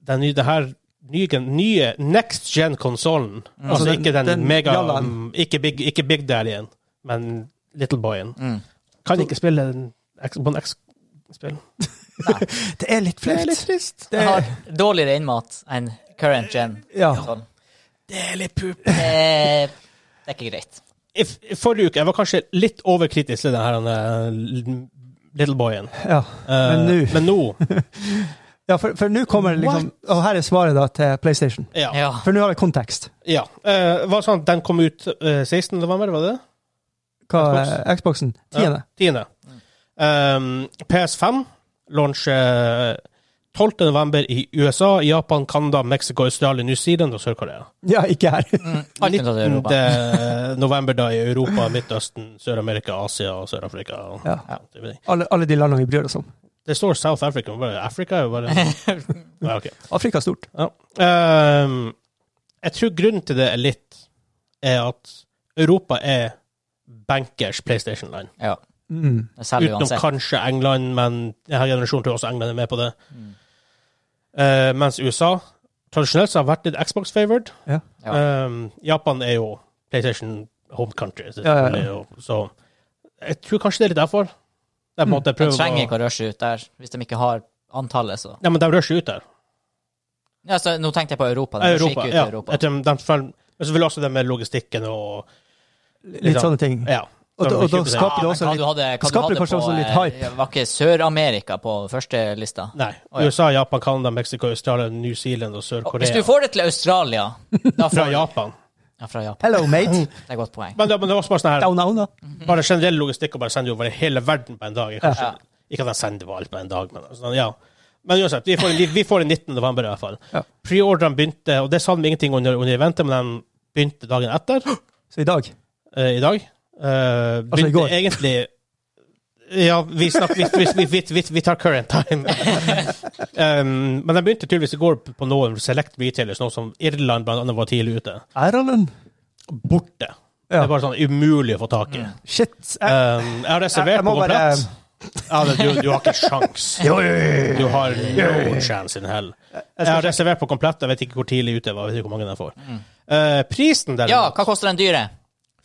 S2: den nye, det her nye, nye next gen-konsollen Altså
S3: Altså den-
S2: ikke den,
S3: den
S2: mega
S3: jallaen.
S2: ikke, big, ikke Big Daddy-en, men Little Boy-en.
S1: Mm.
S2: Kan ikke spille en X- på en X-spill.
S3: Det er litt
S2: Det er
S3: flaut.
S2: litt trist.
S3: Det
S1: Den
S3: er,
S1: har dårligere innmat enn current gen.
S3: ja.
S1: Sånn.
S2: Det er litt pup.
S1: Det, det er ikke greit.
S2: I f- i forrige uke jeg var kanskje litt overkritisk til den her eh, l- Little Boy-en.
S3: ja.
S2: Eh,
S3: Men nå-
S2: Men nå
S3: ja for, for nå kommer liksom Og her er svaret da til PlayStation.
S2: Ja. ja.
S1: (laughs) Ja.
S3: For nå har vi kontekst.
S2: Eh, var det sånn at den kom ut eh, 16. november, var det det?
S3: Hva er Xboxen? Tiende.
S2: Tiende. Um, PS5 launcher 12. november i USA, Japan, Canada, Mexico, Australia, New Zealand og Sør-Korea.
S3: Ja, ikke her.
S1: Mm. Alt unntatt Europa.
S2: 19. november da i Europa, Midtøsten, Sør-Amerika, Asia og Sør-Afrika. og-
S3: Ja.
S2: Ja, det vet jeg.
S3: Alle, alle de landene vi bryr oss om.
S2: Det står South Africa, men bare Afrika er jo
S1: (laughs)
S2: bare ja, ok.
S3: Afrika er stort.
S2: Ja. Ehm, jeg tror grunnen til det er litt er at Europa er bankers PlayStation-land.
S1: Ja.
S3: Mm.
S1: Det selger
S2: Utenom
S1: uansett.
S2: kanskje England, men denne generasjonen tror jeg også England er med på det.
S1: Mm.
S2: Eh, mens USA tradisjonelt så har vært litt Xbox-favored.
S3: Ja.
S1: Ja.
S2: Ehm, Japan er jo PlayStation home country,
S3: ja, ja.
S2: selvfølgelig, og- så jeg tror kanskje det er litt derfor. De måtte
S1: Mm. De
S2: prøve
S1: trenger
S2: å
S1: ikke å rushe ut der hvis de ikke har antallet, så
S2: Nei, men de rusher ut der.
S1: ja, så Nå tenkte jeg på Europa. De rusher
S2: Europa.
S1: ikke ut i
S2: Ja.
S1: Europa.
S2: Jeg tror de, følger- men så vil også det med logistikken og liksom-
S3: Litt sånne ting.
S2: Ja.
S3: Og, da- og da
S1: Ja,
S3: skaper det
S1: men
S3: også
S1: hva
S3: litt
S1: du hadde, hva du
S3: skaper
S1: hadde
S3: kanskje
S1: på,
S3: også litt
S1: eh,
S3: hype.
S1: Var ikke Sør-Amerika på første lista?
S2: Nei.
S1: Å, ja.
S2: USA, Japan, Canada, Mexico, Australia, New Zealand og
S1: Hvis du
S2: Sør-Korea.
S1: får det til Australia
S3: (laughs)
S1: da får,
S2: Fra Japan.
S1: Ja, fra Japan.
S3: Hello, mate.
S1: Det er et godt poeng.
S2: Men det, men det var også bare sånn her
S3: Down under.
S2: Bare generell logistikk og bare sende over hele verden på en dag. Jeg Kanskje,
S1: Ja.
S2: Ikke at jeg sender over alt på en dag, men altså, ja. Men uansett, vi får, vi får den 19. november i hvert fall.
S3: Ja.
S2: Preordrene begynte, og det sa de ingenting under, under eventet, men de begynte dagen etter,
S3: Så i dag
S2: eh, i dag. Eh, begynte
S3: Altså, i går.
S2: egentlig Ja, vi, snakker, vi, vi, vi, vi, vi tar current
S3: (laughs)
S2: time. um, men de begynte tydeligvis i går på noen select retailers, noe som Irland blant annet var tidlig ute.
S3: Ireland?
S2: Borte. Det
S3: Ja.
S2: er bare sånn umulig å få tak i.
S3: Shit. Jeg,
S2: Um, jeg har
S3: Eh, jeg-
S2: reservert
S3: jeg må
S2: på
S3: bare-
S2: komplett. Ja, det- du, du har ikke sjans.
S3: (laughs) jo, jo, jo, jo.
S2: Du har no chance in hell. Jeg har reservert på komplett. Jeg vet ikke hvor tidlig ute jeg var. Jeg vet ikke hvor mange jeg får. Eh, prisen der,
S1: Mm. Ja, hva koster den dyre?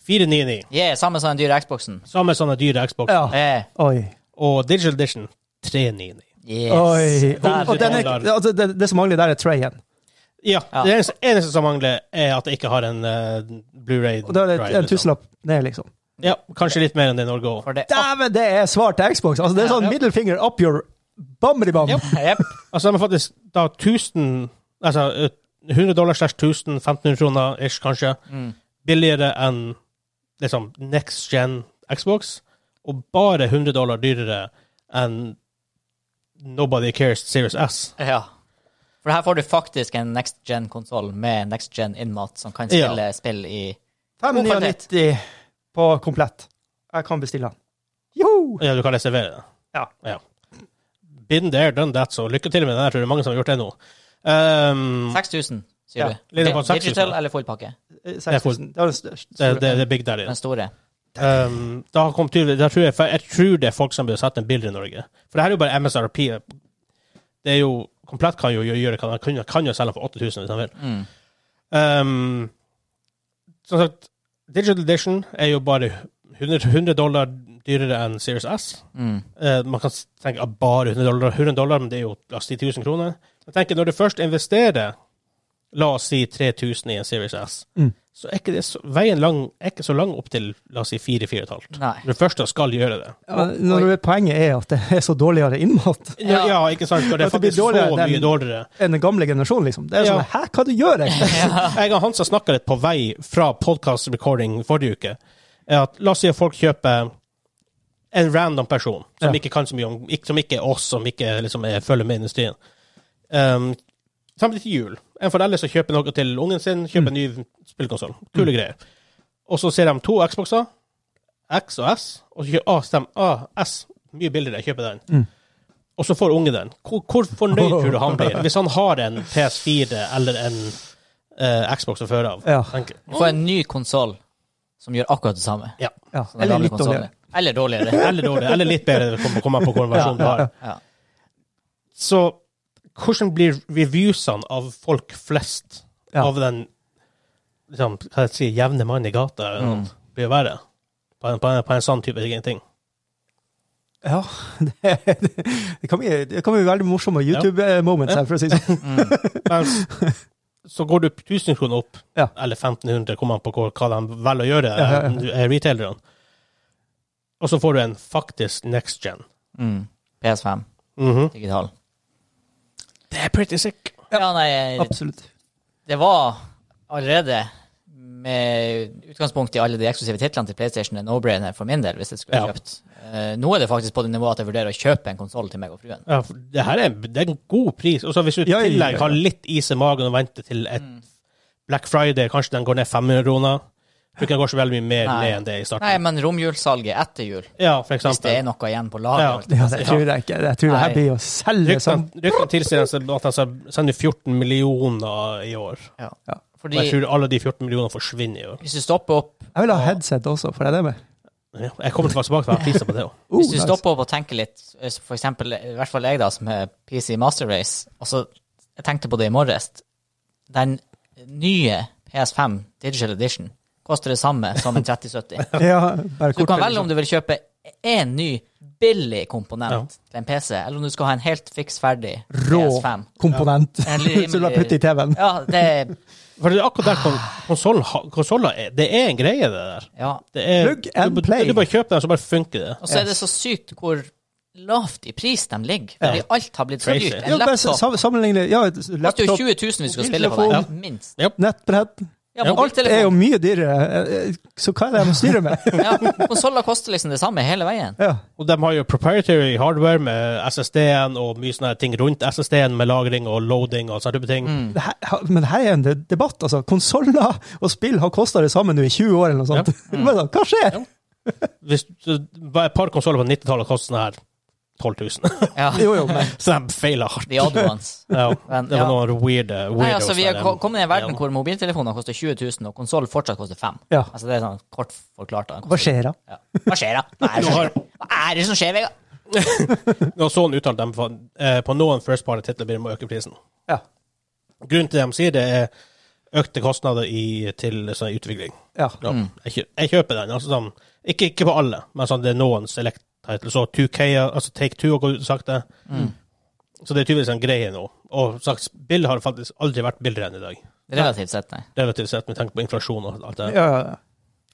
S2: 499.
S1: Yeah, samme som den dyre Xboxen.
S2: Samme sånne dyre Xbox.
S3: Ja.
S1: Eh,
S3: Oi.
S2: Og Digital Edition 399.
S1: yes.
S3: Oi.
S1: Der,
S3: Og den er, altså, det, det som mangler der, er trayen.
S2: Ja.
S1: Ja.
S2: Det eneste, eneste som mangler, er at jeg ikke har en eh, Blu-ray.
S3: Og da er det
S2: drive,
S3: en
S2: liksom.
S3: tusenlapp ned, liksom.
S2: Ja, kanskje litt mer enn det i Norge òg.
S1: for det.
S3: Dæven, det er svar til Xbox! Altså, det er sånn
S2: Ja.
S3: middle finger up your bamri-bam.
S2: Ja.
S1: Jep.
S2: Altså, de har faktisk da 1000 Altså eh, 100 dollar slash 1000, 1500 kroner ish, kanskje.
S1: Mm.
S2: billigere enn liksom next gen Xbox, og bare 100 dollar dyrere enn Nobody Cares Series S.
S1: Ja. For her får du faktisk en next gen-konsoll med next gen-innmat som kan
S2: Ja.
S1: spille spill i
S3: 599 på komplett. Jeg kan bestille den. Joho!
S2: Ja, du kan reservere det.
S3: Ja.
S2: Been there, done that, så lykke til med den. her. Jeg tror det er mange som har gjort det nå. Um,
S1: 6000, sier
S3: Ja,
S1: du.
S2: litt på
S1: Di-
S2: 6000.
S1: Digital eller full pakke?
S3: 6000. Eh, Det var den største.
S2: det, det, det er big daddy.
S1: Den store.
S2: Um, da kom tydelig, da tror jeg, jeg tror det er folk som blir satt en bilde i Norge. For det her er jo bare MSRP. Det er jo, Komplett kan jo gjøre kan, kan, kan jo selge den for 8000 hvis han vil.
S1: Mm.
S2: Um, som sagt, Digital Edition er jo bare 100, 100 dollar dyrere enn Series S.
S1: Mm.
S2: Eh, man kan s- tenke at bare 100 dollar, 100 dollar men det er jo la oss si 10 000 kroner. Jeg tenker Når du først investerer, la oss si 3000 i en Series S,
S3: Mm.
S2: så er ikke det så, veien lang, er ikke så lang opp til la oss si 4-4,5.
S1: Nei.
S2: Når du først skal gjøre det.
S3: Ja, men når det- poenget er at det er så dårligere innmat
S2: Ja,
S1: Ja.
S2: ikke sant? Og det er
S3: At det blir
S2: faktisk så
S3: dårligere enn-
S2: mye dårligere.
S3: enn den gamle generasjonen, liksom. Det er
S2: Ja.
S3: sånn Hæ, hva du gjør du?
S2: Jeg og Hansa snakka litt på vei fra podcast recording forrige uke. Er at, la oss si at folk kjøper en random person som
S3: Ja.
S2: ikke kan så mye om ikke, Som ikke er oss, som ikke liksom, er, følger med i industrien. Um, Samtidig til jul. En forelder som kjøper noe
S3: Mm.
S2: til ungen sin, kjøper en ny spillkonsoll. Kule greier. Og så ser de to Xboxer, X og S, og så kjøper A, stem A, S. Mye billigere, jeg kjøper den.
S3: Mm.
S2: Og så får ungen den. Hvor, hvor fornøyd tror du han
S3: (laughs)
S2: blir hvis han har en PS4 eller en eh, Xbox å føre av?
S3: Ja.
S2: tenker jeg.
S1: Du får en ny konsoll som gjør akkurat det samme.
S2: Ja.
S3: ja.
S1: som den Sånn gamle
S3: Eller litt
S1: konsolen.
S3: dårligere.
S1: Eller dårligere.
S2: Eller dårlig, eller litt bedre, det kommer kommer an på hvilken versjon du har.
S1: Ja.
S2: Så hvordan blir reviewsene av folk flest
S3: Ja.
S2: av den liksom, hva skal jeg si, jevne mann i gata
S1: Mm.
S2: blir å være? På en, på, en, på en sånn type ting.
S3: Ja, (laughs) det, det, kan bli, det kan bli veldig morsomme YouTube-moments her, for å si det sånn.
S2: Mens
S3: (laughs)
S2: så går du 1000 kroner opp,
S3: Ja.
S2: eller 1500, kommer an på hva, hva de velger å gjøre,
S3: Ja, ja, ja.
S2: eh, retailerne. Og så får du en faktisk next gen.
S1: Mm. PS5
S2: Mhm.
S1: digital.
S2: Det er pretty sick.
S1: Ja, nei,
S3: Absolutt.
S1: det var allerede med utgangspunkt i alle de eksklusive titlene til PlayStation en no-brainer for min del, hvis jeg skulle
S2: Ja.
S1: kjøpt. Eh, nå er det faktisk på det nivået at jeg vurderer å kjøpe en konsoll til meg og fruen.
S2: Ja, for det her er, det er en god pris. Og så hvis du i
S3: Ja, ja, ja.
S2: tillegg har litt is i magen og venter til et
S1: Mm.
S2: Black Friday, kanskje den går ned 500 kroner. Tror ikke den går så veldig mye mer
S1: Nei.
S2: ned enn det i starten.
S1: Nei, men romjulssalget etter jul,
S2: ja, for
S1: hvis det er
S2: eksempel.
S1: noe igjen på
S2: Ja.
S1: lager.
S3: Ja, det tror jeg ikke. Jeg tror det
S1: Nei.
S3: her blir å selge sånn. som
S2: Ryktene ryktene tilsier at de skal sende 14 millioner i år.
S1: Ja.
S3: Ja.
S2: Og
S1: Fordi
S2: jeg tror alle de 14 millionene forsvinner i år.
S1: hvis du stopper opp
S3: Jeg vil ha headset også, for jeg er det med.
S2: Ja, Jeg kommer til å være tilbake til å ha priser på det òg.
S3: Oh,
S1: Hvis du
S3: nice.
S1: stopper opp og tenker litt, eh, for eksempel, i hvert fall jeg da, som er PC Master Race, og så jeg tenkte på det i morges, den nye PS5 Digital Edition koster det samme som en
S3: (laughs)
S1: 3070.
S3: Ja, bare
S1: Så du kan
S3: kortere,
S1: velge om du vil kjøpe én ny billig komponent til en PC, eller om du skal ha en helt fiks ferdig
S3: liksom. Rå
S1: PS5.
S3: komponent (laughs)
S1: En rimelig-
S3: som du har puttet i TV-en.
S1: Ja, det
S2: For det er akkurat der kon-
S1: Ah.
S2: konsol- ha- konsoler er. Det er en greie, det der.
S1: Ja.
S2: Det er,
S3: Plug and
S2: du,
S3: play.
S2: Du bare kjøper den, så bare funker det.
S1: Og så er det så sykt hvor lavt i pris de ligger, fordi
S2: Ja.
S1: alt har blitt så
S2: Crazy.
S1: dyrt.
S3: Ja,
S1: En
S3: bare
S1: laptop
S3: sam- sammenligne Ja,
S1: koster jo
S3: laptop,
S1: 20 000 hvis du skal spille på den,
S3: mobiltelefon.
S1: minst.
S3: nettbrett
S1: Ja,
S2: Ja.
S3: Alt er jo
S1: mobiltelefon.
S3: mye dyrere, Eh, så hva er det de styrer med?
S1: (laughs) Ja, konsoller koster liksom det samme hele veien.
S3: Ja.
S2: Og de har jo proprietary hardware med SSD-en og mye sånne ting rundt SSD-en med lagring og loading og sånne type ting.
S1: Mm.
S3: Det her, ha- men det her er en de- debatt, altså. Konsoller og spill har kosta det samme nå i 20 år, eller noe sånt. (laughs)
S1: Mm.
S3: Men da, hva skjer?
S2: Hvis du, bare et par konsoller på 90-tallet kostet sånn her 12 000.
S1: Ja,
S3: Jo, jo, men
S2: (laughs) Så de feilet hardt.
S1: The odd ones.
S2: Ja,
S1: Men,
S2: det var
S1: ja.
S2: noen weird weirdos
S1: Nei, altså, vi er
S2: der.
S1: ko- kommet i en verden
S2: Ja.
S1: hvor mobiltelefoner koster 20 000, og konsoll fortsatt koster 5
S3: Ja.
S1: Altså, det er sånn kort forklart. da.
S3: hva skjer da?
S1: Ja. Hva skjer, da? Hva er det som skjer? Hva er det som skjer, Vegard?
S2: Nå sånn uttalte de på, eh, på noen first party-titler blir det å øke prisen.
S3: Ja.
S2: Grunnen til det de sier, det er økte kostnader i, til sånn utvikling.
S3: ja.
S2: Ja. Mm. Jeg, kjø- jeg kjøper den. Altså, sånn, ikke, ikke på alle, men sånn, det er noen select titles. Så 2K, altså Take Two har gått ut og sagt det.
S1: Mm.
S2: Så det er tydeligvis en greie nå. Og sagt, spill har faktisk aldri vært billigere enn i dag.
S1: Relativt sett, nei.
S2: Relativt sett, med tanke på inflasjon og alt det.
S3: Ja, ja, ja.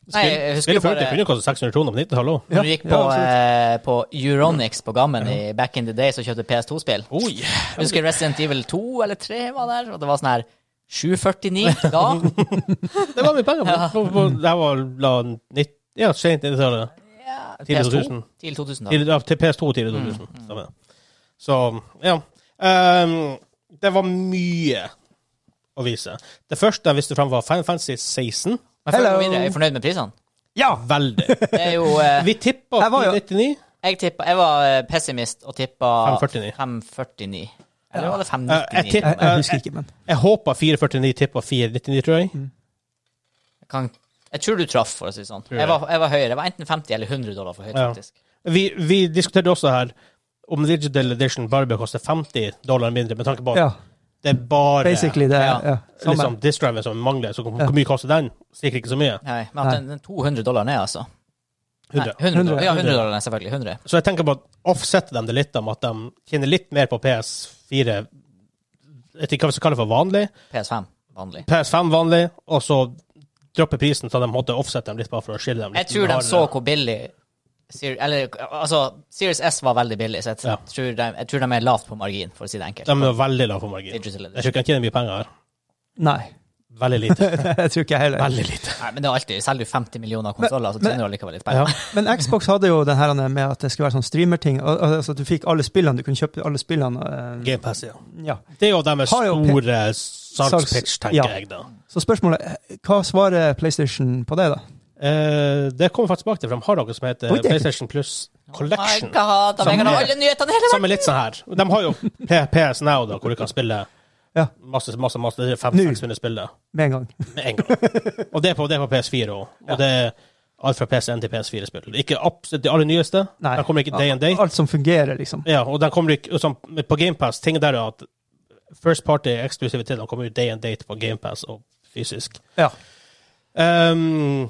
S1: Nei,
S2: Spill,
S1: jeg husker
S2: spillet
S1: jo
S2: før det
S1: bare
S2: kunne koste 600 kroner på 90-tallet òg.
S1: når du gikk på,
S3: Ja, absolutt.
S1: eh, på Euronics på Gammen i back in the day, så kjøpte PS2-spill.
S2: Oh, yeah.
S1: Jeg husker Resident Evil 2 eller 3 var der, og det var sånn her 749 da.
S2: Det var mye penger.
S1: (laughs)
S2: på- på- på- Det her var la, 90, ja, sent 90-tallet.
S1: Ja,
S2: Tidlig
S1: PS2.
S2: 2000.
S1: Tidlig 2000, da.
S2: Til, ja, til PS2 tidlig 2000. Stemmer. Så, ja. Ehm, det var mye å vise. Det første jeg viste fram, var Final Fantasy 16.
S1: Men før vi
S3: Hello.
S1: går videre, er jeg fornøyd med prisene?
S2: Ja, veldig.
S1: Det er jo eh,
S2: Vi tippa
S3: Jeg var jo-
S2: 499.
S1: Jeg, tippa, jeg var eh, pessimist og tippa
S2: 5,49.
S1: 5,49. Eller var det
S2: Eh, jeg
S1: 5,99?
S2: tipp-
S3: Jeg, jeg husker ikke, men
S2: Jeg håpa 449 tippa 499, tror jeg.
S1: Jeg, kan, jeg tror du traff, for å si det sånn.
S2: jeg.
S1: Jeg var, jeg var høyere. Jeg var enten 50 eller 100 dollar for høyt,
S2: Ja.
S1: faktisk.
S2: Vi, vi diskuterte også her om Digital Edition bare bør koste 50 dollar mindre, med tanke på at
S3: ja,
S2: det er bare
S3: basically det.
S1: Ja.
S3: Ja. Ja. Samme.
S2: liksom, disk-driven som mangler. Så hvor hvor mye koster den? Sikkert ikke så mye.
S1: Nei, men at den, den 200 dollar ned, altså. Nei,
S2: 100.
S1: 100, dollar. Ja,
S2: 100.
S1: 100 dollar ned, selvfølgelig. 100.
S2: Så jeg tenker på at offsetter dem det litt om at de tjener litt mer på PS4 Jeg vet ikke hva vi skal kalle det for vanlig.
S1: PS5. Vanlig.
S2: PS5 vanlig, og så dropper prisen, så de måtte offsette dem litt bare for å skille dem litt.
S1: Jeg tror de så hvor billig Ser- eller, altså, Series S var veldig billig, så jeg, t-
S2: Ja.
S1: tror de, jeg tror de er lavt på margin, for å si det enkelt.
S2: De er veldig lave på margin. Jeg
S1: Digital
S2: tror
S1: edition.
S2: ikke de tjener mye penger her.
S3: Nei, (laughs)
S2: Veldig lite.
S3: jeg tror ikke jeg heller.
S2: Veldig lite.
S1: Nei, men det er alltid, Selger du 50 millioner konsoller, så
S3: men-
S1: tjener du allikevel litt
S2: Ja.
S1: penger.
S3: (laughs) Men Xbox hadde jo den her med at det skulle være sånn streamerting. al- al- Altså at du fikk alle spillene, du kunne kjøpe alle spillene. eh,
S2: GamePass, ja.
S3: Ja.
S2: Det er jo deres
S3: Har jo
S2: store
S3: Salgs-
S2: salgspitch, tenker
S3: ja.
S2: jeg, da.
S3: Så spørsmålet, eh, hva svarer PlayStation på det, da?
S2: Eh, det kommer vi faktisk tilbake til, for de har noe som heter
S3: Oi, det er-
S2: PlayStation Plus Collection.
S1: My God, da
S2: Som
S1: venger
S2: er-
S1: han alle nyhetene hele
S2: Som er litt sånn her. De har jo P- PS Now, da, hvor du kan spille
S3: Ja.
S2: masse, masse, masse det er
S3: Nå.
S2: 500-600 spill da,
S3: Med en gang.
S2: (laughs) med en gang. Og det er på, det er på PS4 òg. Og det er alt fra PS1 til PS4-spill. Ikke absolutt de aller nyeste.
S3: Nei.
S2: De kommer ikke day and day.
S3: Alt som fungerer, liksom.
S2: Ja, og de kommer ikke sånn, På GamePass, ting der er at First Party eksklusivitet de kommer ut day and date på GamePass og fysisk.
S3: Ja.
S2: Ehm,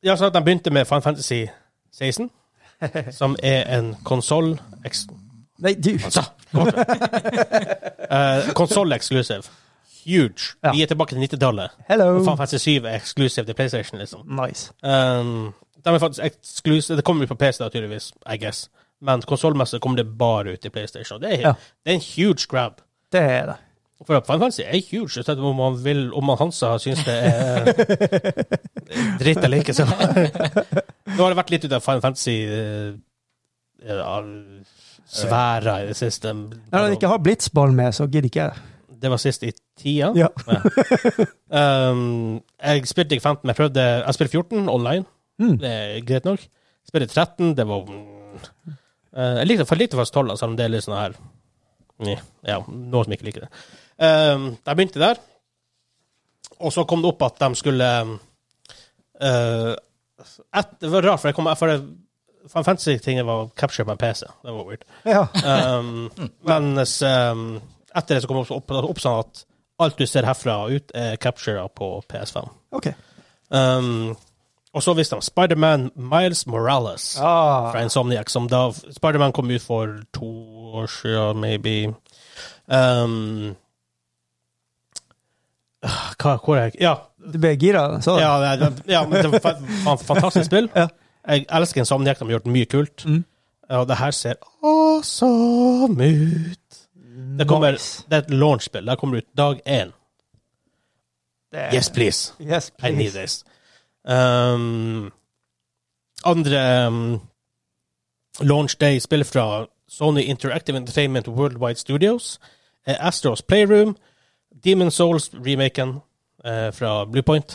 S2: ja, så at de begynte med Final Fantasy 16, som er en konsoll
S3: Nei, du
S2: Altså, Uh, Konsoll-exclusive. Huge.
S3: Ja.
S2: Vi er tilbake til 90-tallet.
S3: Hello!
S2: Og Final Fantasy 7 er exclusive til PlayStation, liksom.
S3: Nice.
S2: Um, de er faktisk exclusive. Det kommer jo på PC, da, tydeligvis. I guess. Men konsollmessig kommer det bare ut i PlayStation. og Det er,
S3: Ja.
S2: det er en huge grab.
S3: Det er det.
S2: For Final Fantasy er huge, uansett om man vil, om man Hansa syns det er eh, dritt eller ikke.
S3: (laughs)
S2: Så. Nå har det vært litt ut av Final Fantasy eh, ja, sfæra i det siste.
S3: Når han ikke har blitzball med, så gidder ikke jeg.
S2: Det var sist i tida.
S3: Ja.
S2: Um, jeg spilte ikke 15, men jeg prøvde Jeg spilte 14 online.
S3: Mm.
S2: Det er greit nok. Spilte 13, det var mm, eh, Jeg likte for lite fast 12, selv om det er litt sånn her Nja, Ja, noen som ikke liker det. Um, jeg begynte der, og så kom det opp at de skulle um, eh, et, Det var rart, for jeg kom for jeg- Final Fantasy-tinget var captured på en PC. Det var weird.
S3: (laughs) Ja.
S2: Um, mens um, etter det så kom det opp, opp sånn at alt du ser herfra og ut, er capturer på PS5.
S3: OK.
S2: Um, og så viste de Spiderman Miles Morales
S3: Ah.
S2: fra Insomniac, som da Spiderman kom ut for to år siden, maybe. Um, ah, hva, hvor er jeg? Ja,
S3: Du ble gira? Så.
S2: ja, det, det- ja men det var fa- fa- fantastisk spill.
S3: Ja.
S2: Jeg elsker Insomniac, de har gjort mye kult.
S3: Mm.
S2: Ja, Og det her ser awesome ut. Det, kommer,
S3: Nice.
S2: det er et launchspill. Det kommer ut dag én.
S3: Det-
S2: Yes, please.
S3: yes,
S2: I need
S3: please.
S2: this. Um, andre um, launch day-spill fra Sony Interactive Entertainment Worldwide Studios er Astros Playroom, Demon Souls-remaken eh, fra Bluepoint.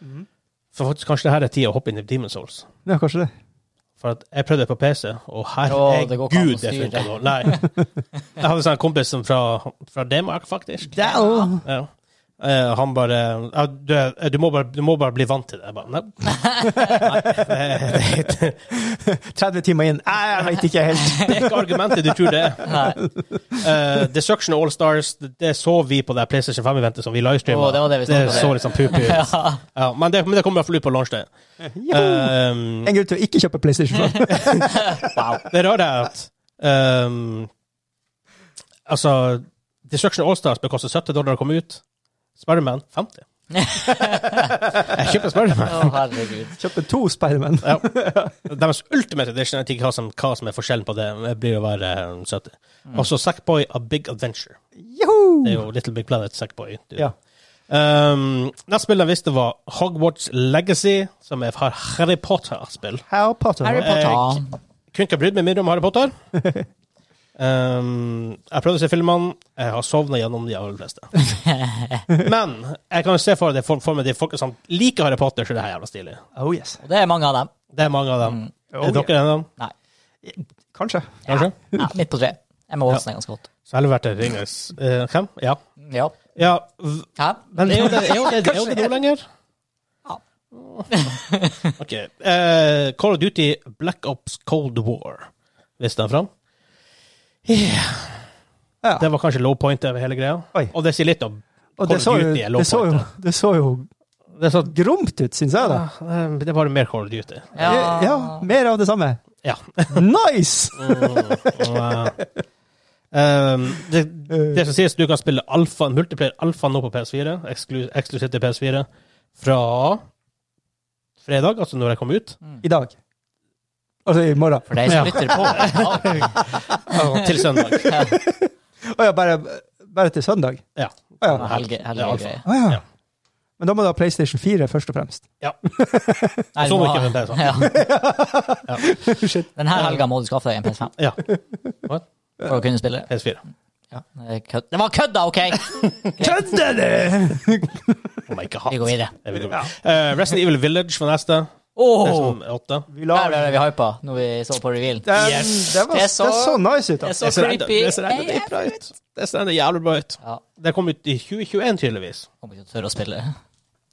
S3: Mhm.
S2: For faktisk kanskje det her er tida å hoppe inn i Demon Souls.
S3: Ja, kanskje det.
S2: For at jeg prøvde det på PC, og
S1: Å, det går ikke an å
S2: herregud, det
S1: styre.
S2: funka nå.
S1: (laughs)
S2: Nei. Jeg hadde en sånn kompis som fra, fra Danmark, faktisk.
S3: Dæven!
S2: Ja. Eh, han bare ja, du, er- du, må bare 'Du må bare bli vant til det.' Jeg bare Nei.
S1: (laughs)
S2: Nei. Det er
S3: 30 timer inn. Nei, jeg vet ikke helt.
S2: (laughs) det er ikke argumentet du tror det er.
S1: Nei.
S2: Eh, Destruction All Stars, det, det så vi på det PlayStation 5-eventet som vi livestreama.
S1: Å, det var det vi snakket om.
S2: så liksom pupi ut. Ja.
S1: (laughs) Ja.
S2: men, det, men det kommer iallfall ut på lunsjtid. Um,
S3: En grunn til å ikke kjøpe PlayStation 5.
S2: Det rare er at ehm, Altså, Destruction Allstars ble kostet 70 dollar å komme ut. Spiderman 50. jeg kjøper Spiderman.
S1: Å,
S2: (laughs)
S1: herregud.
S3: Kjøpe to Spiderman.
S2: Ja. Deres Ultimate Edition, jeg vet ikke hva som, hva som er forskjellen på det, men det blir å være eh, 70.
S1: Mm.
S2: Og så Sackboy A Big Adventure. Det er
S3: Joho!
S2: jo Little Big Planet Sackboy. du.
S3: Ja.
S2: Ehm, neste spill jeg visste, var Hogwarts Legacy, som er fra Harry Potter-spill.
S3: Harry Potter.
S1: Harry Potter.
S2: Kunne ikke ha brydd meg mindre om Harry Potter.
S1: (laughs)
S2: Um, jeg prøvde å se filmene. Jeg har sovna gjennom de aller
S1: (laughs)
S2: fleste. Men jeg kan jo se for, det, for, for meg de folka som liker Harry Potter, så er det her jævla stilig.
S3: Oh yes.
S1: Og det er mange av dem.
S2: Det er mange av dem.
S1: Mm.
S2: er dere en av dem?
S3: Kanskje.
S2: Kanskje?
S1: Ja, midt på tre. Jeg må åpne ganske godt.
S2: Så jeg har vært der Ringenes eh, Hvem? Ja.
S1: Ja.
S2: ja. v-
S1: Hæ?
S2: Men er jo det, (laughs) er jo det, er jo det nå lenger?
S1: Ja.
S2: (laughs) OK. eh, Call of Duty Black Ops Cold War viste den fram.
S3: Ja.
S2: Det var kanskje low point over hele greia.
S3: Oi.
S2: Og det sier litt om
S3: Og det
S2: Call
S3: så,
S2: of
S3: jo,
S2: Duty er low
S3: det, så jo,
S2: point.
S3: det så jo
S2: Det er så
S3: gromt ut, syns jeg. da.
S2: Ja, Ah, eh, det er bare mer Call of Duty.
S1: Ja.
S3: ja. Mer av det samme.
S2: Ja.
S3: (laughs) Nice!
S2: Og, (laughs) eh, um, det, det som sies, du kan spille alfa, multiplayer alfa nå på PS4, eksklu- eksklusivt til PS4, fra fredag, altså når jeg kom ut,
S3: I dag. Altså i morgen.
S1: For de
S2: Ja.
S1: som lytter på.
S2: til søndag.
S3: Å ja, bare, bare til søndag?
S2: Ja.
S3: Å
S1: (laughs) Ja,
S3: ja. altså.
S1: Helge,
S2: Det er
S1: helge
S2: alfa.
S1: greier.
S3: Å ja.
S2: Ja.
S3: Men da må du ha PlayStation 4 først og fremst.
S1: Nei, du
S2: Sånn
S1: må
S2: ikke
S1: ha-
S2: den der, sånn.
S1: Ja. (laughs)
S3: Shit.
S1: Den her helga må du skaffe deg en PS5
S2: Ja,
S1: for å kunne spille det.
S2: PS4.
S1: Det er kødd- Det var kødda, OK?
S3: Kødder du?!
S2: Oh my god.
S1: Vi går videre.
S2: Det vil gå videre. Eh, Resident Evil Village var neste. Det
S1: Åh!
S2: er sånn åtte.
S3: Vi
S1: Der
S3: lar
S1: ble vi hypa når vi så på revealen.
S3: Den, det, var,
S1: Det
S3: det,
S1: er så-
S3: så nice ut.
S1: Det
S3: Altså.
S1: så creepy.
S2: Det ser enda
S1: AF.
S2: bra ut. Det ser enda jævlig bra ut.
S1: Ja,
S2: Det kom ut i 2021, tydeligvis.
S1: kommer ikke til å tørre å spille.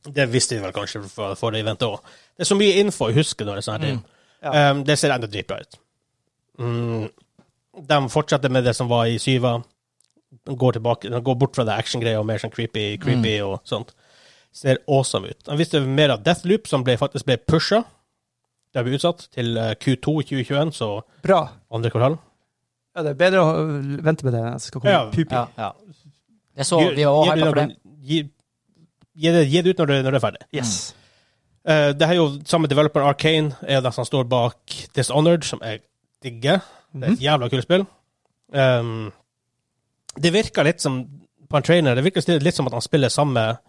S2: Det visste vi vel kanskje for, for det eventet òg. Det er så mye info jeg husker når det er sånne
S1: Mm.
S2: ting.
S3: Ja.
S2: Um, det ser enda dritbra ut. Mm. De fortsetter med det som var i syva. Går, tilbake, de går bort fra det actiongreia og mer sånn creepy, creepy
S1: Mm.
S2: og sånt. Ser awesome ut. De visste mer av Deathloop, som ble, faktisk ble pusha. Det ble utsatt til eh, Q2 2021, så
S3: Bra.
S2: andre kvartal.
S3: Ja, det er bedre å vente med det. enn at det skal komme
S2: Ja.
S3: pupi.
S1: Ja, ja. Jeg så, vi var også
S2: Gi- gi-
S1: hypa for det.
S2: Gi, gi, det, gi det ut når det, når det er ferdig.
S3: Yes.
S2: Eh, det er jo samme developer Arcane, er den som står bak Dishonored, som jeg digger. Det
S3: Mhm.
S2: er et jævla kult spill. Ehm, det virker litt som på en trainer, det virker stil- litt som at han spiller samme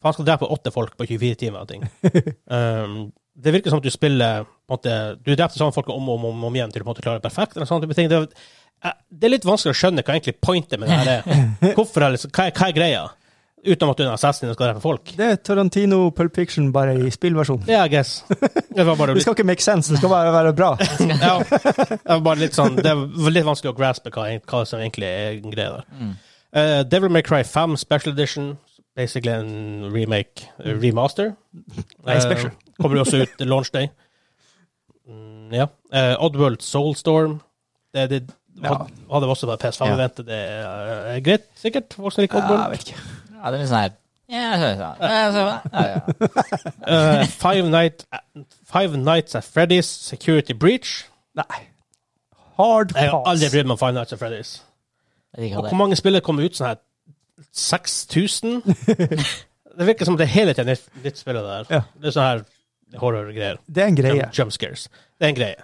S2: for Han skal drepe åtte folk på 24 timer og
S3: (laughs)
S2: ting. Ehm, det virker som at du spiller på en måte, Du drepte samme folk om og om, om, om igjen til du på en måte klarer det perfekt. eller sånn type ting. Det, er- eh, det er litt vanskelig å skjønne hva egentlig pointet med det her
S3: (laughs)
S2: er. Hvorfor, er det liksom, hva, er- hva er greia? Utenom at du er en assassin og skal drepe folk.
S3: Det er Tarantino Pulp Fiction bare i spillversjon.
S2: Det er I guess. Det var
S3: (laughs)
S2: bare
S3: Det skal ikke make sense, det skal bare være bra.
S2: ja, det var bare litt sånn Det var litt vanskelig å graspe hva, hva som egentlig er greia der.
S3: Mm.
S2: Eh, Devil May Cry 5 Special Edition, basically en remake, eh, remaster.
S3: (laughs) Nei, special.
S2: Eh, kommer også ut launch day. Mm, ja. Eh, Oddworld Soulstorm. Det, det
S3: Ja.
S2: had- hadde vi også vært PS5-eventet. Det er eh, greit, sikkert, folk som liker
S3: Ja, jeg
S2: Oddworld.
S3: vet ikke.
S1: Ja, det er litt sånn her ja, så, så. Ja, så, ja, ja.
S2: Eh, Five, Night, Five Nights at Freddy's Security Breach.
S3: Nei. Hard
S2: Jeg har aldri
S3: pass.
S2: brydd meg om Five Nights at Freddy's.
S1: Jeg liker
S2: Og hvor
S1: det.
S2: mange spillere kommer ut sånn her
S3: (laughs)
S2: 6000? det virker som det er hele tiden er nytt- nytt spill av det der.
S3: Ja.
S2: Det er sånn her horror-greier.
S3: Det er en greie.
S2: Jump, jump scares. Det er en greie.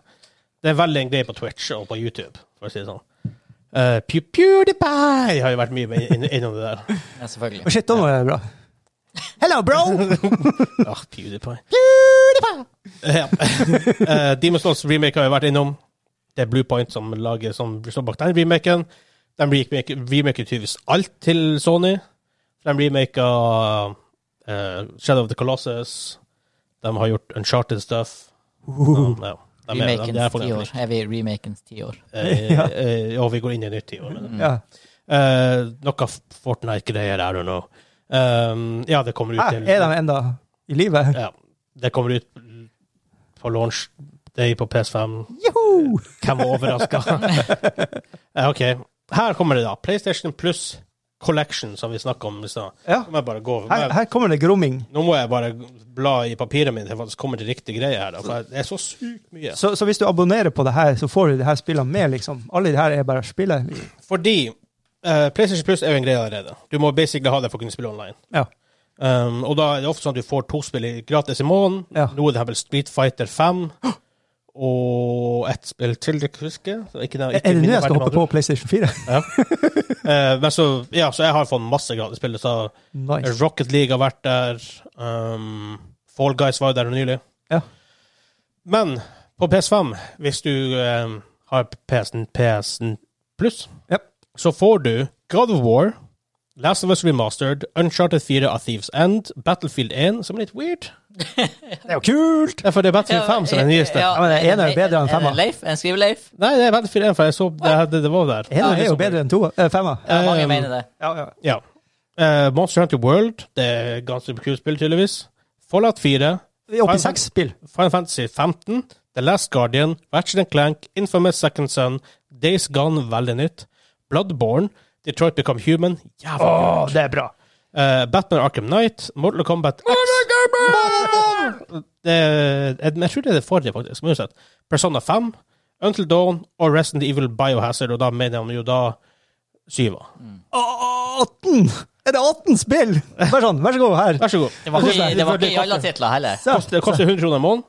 S2: Det er veldig en greie på Twitch og på YouTube, for å si det sånn. Eh, Pew PewDiePie har jo vært mye med inn, innom det der.
S1: Ja,
S3: Å,
S1: selvfølgelig.
S3: shit, da må jeg være bra. Hello, bro!
S2: Ah, PewDiePie. Ja. (laughs) Eh, Demon's Souls remake har jeg vært innom. Det er Bluepoint som lager som står bak den remaken. De remake- remaker tydeligvis alt til Sony. De remaker eh, Shadow of the Colossus. De har gjort Uncharted stuff. Um, ja. De er- de- de
S1: Remakens
S2: er på den
S1: tiår. Er vi i remakens tiår?
S2: Eh,
S3: Ja.
S2: eh, og vi går inn i et nytt tiår. men-
S3: Ja.
S2: Eh, noe Fortnite-greier, I don't know. Um, ja, det kommer ut
S3: Hæ,
S2: til
S3: Ah, er de enda i live?
S2: ja, Det kommer ut på launch day på PS5.
S3: Joho!
S2: Hvem var overraska? OK. Her kommer det, da. PlayStation Plus Collection, som vi snakka om i stad.
S3: Ja.
S2: Nå må jeg bare gå over.
S3: Her, her kommer det gromming.
S2: Nå må jeg bare bla i papiret mitt til jeg faktisk kommer til riktig greie her. Da, for det er så sykt mye.
S3: Så, så hvis du abonnerer på det her, så får du de her spillene med, liksom. Alle de her er bare spillet.
S2: Fordi eh, PlayStation Plus er jo en greie allerede. Du må basically ha det for å kunne spille online.
S3: Ja.
S2: Um, og da er det ofte sånn at du får to spill i- gratis i måneden.
S3: Ja.
S2: Nå er det her vel Street Fighter 5 og ett spill til, det husker jeg. Så ikke-
S3: Er
S2: ikke
S3: det nå jeg skal
S2: minneverdig
S3: hoppe på PlayStation 4?
S2: Ja. Eh, men så, ja, så jeg har fått masse gratis spill. Så (laughs)
S3: Nice.
S2: Rocket League har vært der. Um, Fall Guys var jo der nylig.
S3: Ja.
S2: Men på PS5, hvis du um, har PS-en PS-en pluss,
S3: Ja.
S2: så får du God of War, Last of Us Remastered, Uncharted 4 av Thieves End, Battlefield 1, som er litt weird.
S3: Det er jo kult!
S2: Ja, for det er Battlefield 5 som er den nyeste.
S3: Ja, men det ene er jo bedre enn femmer.
S1: En Leif, en skriveleif.
S2: Nei, det er Battlefield 1, for jeg så det, det, det var der.
S3: Eneren er jo bedre enn toa. eh, Femma.
S1: Ja, mange
S2: Um,
S1: mener det.
S3: Ja, ja.
S2: Ja. Eh, Monster Hunter World, det er ganske kult spill, tydeligvis. Fallout 4,
S3: Vi er oppe i seks spill.
S2: Final Fantasy 15, The Last Guardian, Ratchet Clank, Infamous Second Son, Days Gone, veldig nytt, Bloodborne, Detroit Become Human, jævla kult.
S3: det er bra.
S2: Eh, Batman Arkham Knight, Mortal Kombat X det, er- Eh, jeg, jeg tror det er det forrige, faktisk. Men uansett. Persona 5, Until Dawn og Resident Evil Biohazard, og da mener han jo da syva.
S3: Å, 18! Er det 18 spill? Vær sånn, vær så god, her.
S2: Vær så god.
S1: Det var ikke, det var
S2: Det
S1: ikke i alle
S2: koster-
S1: titler heller.
S3: Så,
S2: Det koster 100 kroner i måneden.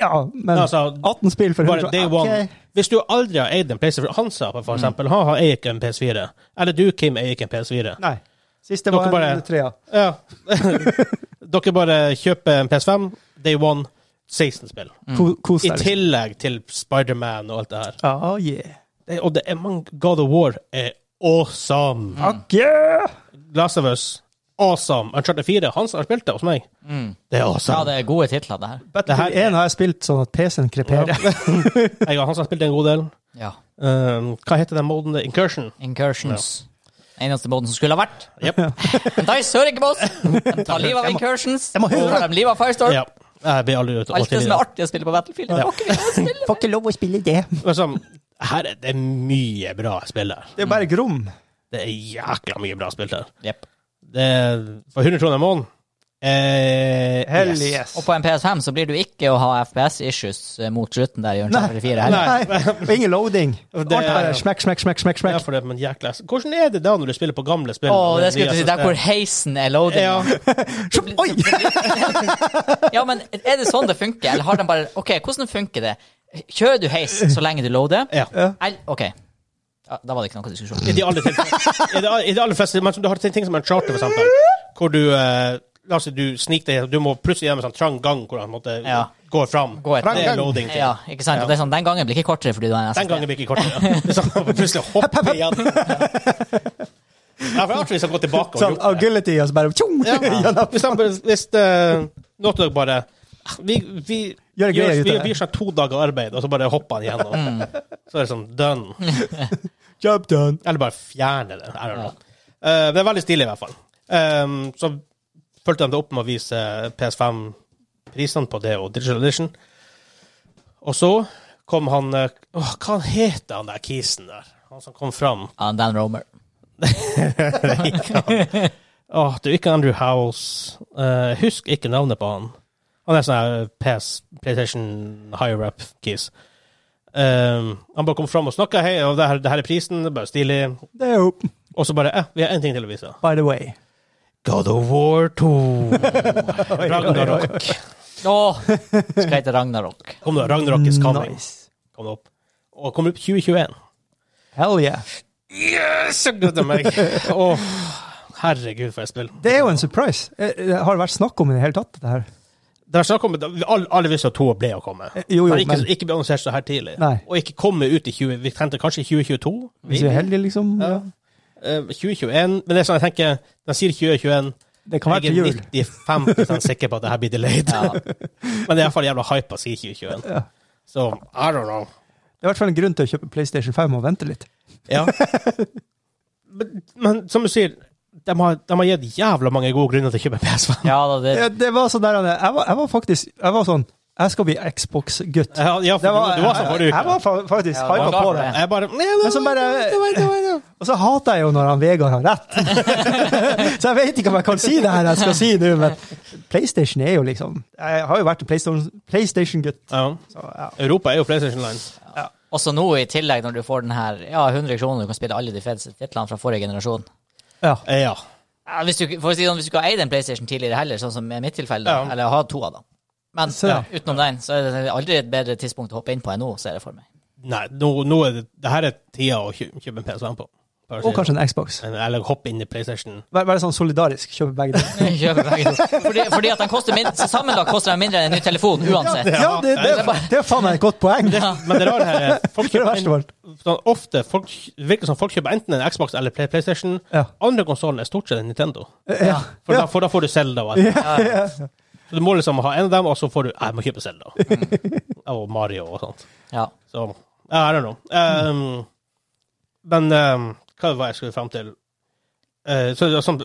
S3: ja, men
S2: Altså,
S3: 18 spill for
S2: Bare
S3: 100
S2: day one.
S3: Ok.
S2: Hvis du aldri har eid en PlayStation Han sa
S1: Mm.
S2: for eksempel han har eier ikke en PS4. Eller du, Kim, eier ikke en PS4.
S3: Nei. Siste
S2: Dere
S3: var
S2: bare-
S3: en trea.
S2: Ja. (laughs) Dere bare kjøper en PS5, day one, 16 spill.
S3: Ko- Kos
S2: I
S3: deg. liksom.
S2: tillegg til Spiderman og alt det her.
S3: Ja, yeah.
S2: Det, og det
S1: Mm.
S2: er mange God of War er awesome.
S3: Fuck yeah!
S2: Last of Us awesome. Uncharted 4, han som har spilt det hos meg. Det er
S1: Mm. Ja,
S2: awesome.
S1: det er gode titler, det her.
S3: Battlefield 1 har jeg spilt sånn at PC-en kreperer.
S2: Jeg og han som har spilt det en god del.
S1: Ja.
S2: Um, hva heter den moden? Incursion.
S1: Incursions. Eneste måten som skulle ha vært.
S2: Yep.
S1: Men de hører ikke på oss! De
S3: (laughs)
S1: tar livet av incursions.
S3: må høre
S1: og tar dem livet av Firestorm.
S2: (laughs) Ja. Jeg blir aldri ut
S1: Alt det som er artig å spille på Battlefield. det var ikke vi.
S3: (laughs) Får ikke lov å spille det.
S2: Men sånn, her er det mye bra spill her.
S3: Det er bare grom.
S2: Det er jækla mye bra spill her.
S1: Jep.
S2: Det er for 100 kroner i måneden. Eh,
S3: Hell yes.
S1: Og på en PS5 så blir du ikke å ha FPS-issues eh, mot slutten der i Uncharted 4 heller.
S3: Nei. Og ingen loading.
S2: Det
S3: Alt
S2: er-
S3: bare smekk, smekk, smekk, smekk.
S2: Ja,
S3: smekk.
S2: for det, men jækla. Hvordan er det da når du spiller på gamle spill?
S1: Å, det skulle jeg til å si. Der hvor heisen er loading.
S2: ja.
S3: Sjopp, Oi!
S1: (laughs) Ja, men er det sånn det funker? Eller har de bare OK, hvordan funker det? Kjører du heis så lenge du loader?
S2: ja.
S1: Eller, OK. Ja, da var det ikke noe diskusjon.
S2: I de aller, til- i de- i de aller fleste men som Du har ting som en charter, for eksempel, hvor du eh, La oss si du sniker deg, du må plutselig gjennom en sånn trang gang hvor han måte
S1: Ja.
S2: går fram.
S1: Gå et-
S2: det er loading ting.
S1: Ja, ikke sant? Og det er sånn, den gangen blir ikke kortere fordi du har en SSD.
S2: Den gangen blir ikke kortere. Ja. Det er Sånn, at plutselig hopper igjen. Ja, for Arthur skal gå tilbake og
S3: Sånn
S2: gjort det.
S3: agility, og så bare tjong! (laughs)
S2: Ja. Hvis, han, bare- hvis uh, Naughty Dog bare Vi, vi
S3: Gjør greier ut av
S2: vi,
S3: det.
S2: vi gir seg to dager arbeid, og så bare hopper han igjennom. Så er det sånn done.
S3: Job done.
S2: Eller bare fjerne det. I don't know. Eh, det er veldig stilig, i hvert fall. Ehm, så fulgte de det opp med å vise PS5-prisene på det og Digital Edition. Og så kom han eh, åh, Hva han heter han der kisen der? Han som kom fram?
S1: Ja, Dan Romer.
S2: Åh, det er ikke Andrew Howells. Eh, husk ikke navnet på han. Han er sånn her PS, PlayStation higher up keys. Ehm, han bare kom fram og snakka. Hei, og det her, det her er prisen. Det er bare stilig.
S3: Det er jo
S2: Og så bare eh, Vi har én ting til å vise.
S3: By the way.
S2: God of War 2. (laughs) Ragnarok.
S1: Å! Skal hete Ragnarok.
S2: Kom da, Ragnarok is coming.
S3: Nice.
S2: Kom da opp. Og kommer opp 2021.
S3: Hell yeah.
S2: Yes, så gleder jeg meg. (laughs) Åh, herregud, for et spill.
S3: Det er jo en surprise. Eh, eh, Har det vært snakk om i det hele tatt, det her?
S2: Det har snakk om, alle, alle visste at to ble å komme.
S3: Eh, Jo, jo,
S2: men ikke,
S3: men
S2: ikke ble annonsert så her tidlig.
S3: Nei.
S2: Og ikke komme ut i 20, vi tenkte kanskje i 2022?
S3: hvis vi er heldige, liksom.
S2: Ja.
S3: Ja.
S2: Eh, 2021, men det er sånn jeg tenker, den sier 2021,
S3: Det kan være til
S2: jeg
S3: jul.
S2: er 95% sikker på at det her blir delayed.
S1: Ja.
S2: (laughs) Men det er i hvert fall jævla hype å si 2021.
S3: Ja.
S2: Så, I don't know.
S3: Det er i hvert fall en grunn til å kjøpe PlayStation 5 og vente litt.
S2: Ja. (laughs) men, men som du sier, de har, de har gitt jævla mange gode grunner til å kjøpe PS5.
S1: Ja da, det
S3: Ja, det var sånn der, jeg var, jeg var faktisk jeg var sånn Jeg skal bli
S2: (laughs)
S3: Xbox-gutt.
S2: Ja, ja for
S3: Det var,
S2: du, du var sånn forrige
S3: jeg
S2: uke.
S3: var fa- faktisk
S1: Ja, det
S3: hypa
S1: var
S3: på
S1: klart
S3: det.
S1: det.
S2: Jeg bare Nei,
S3: Men så bare Og så hater jeg jo når han Vegard har rett. (laughs) så jeg vet ikke om jeg kan si det her jeg skal si nå, men PlayStation er jo liksom Jeg har jo vært en PlayStation- PlayStation-gutt.
S2: (laughs) Ja.
S3: så ja.
S2: Europa er jo PlayStation-land.
S1: Også nå i tillegg, når du får den her Ja, 100 kroner, du kan spille alle de feteste titlene fra forrige generasjon.
S3: ja.
S2: Ja.
S1: Ja, hvis, du, ikke- for å si det sånn, hvis du ikke har eid en PlayStation tidligere heller, sånn som i mitt tilfelle, da,
S2: Ja.
S1: eller har to av dem Men
S3: Så-
S1: ja, utenom den, så er det aldri et bedre tidspunkt å hoppe inn på enn nå, ser jeg for meg. (laughs)
S2: Nei, nå, nå er det det her er tida å kjø- kjøpe en PS5 på. Bare
S3: Og
S2: si
S3: kanskje en Xbox.
S2: det. Eller hoppe inn i PlayStation.
S3: Vær, vær sånn solidarisk. Kjøpe begge deler.
S1: Kjøper begge to. Fordi, fordi at den koster min, sammenlagt koster den mindre enn en ny telefon, uansett.
S3: Ja, det, det, det, er faen meg et godt
S1: (laughs)
S3: poeng. Det
S2: Men det rare her er folk
S3: er (laughs) det
S2: kjøper
S3: verste av alt.
S2: en, sånn, ofte folk, det virker som folk kjøper enten en Xbox eller Play- PlayStation.
S3: Ja.
S2: Andre konsollen er stort sett en Nintendo.
S1: Ja.
S2: For,
S3: Ja.
S2: da, for da får du Zelda og alt. Så du må liksom ha en av dem, og så får du Jeg må kjøpe Zelda.
S3: Mm.
S2: Og Mario og sånt.
S1: Ja.
S2: Så I don't know. Um, Men um, hva var jeg skulle fram til? Eh, så det er sånn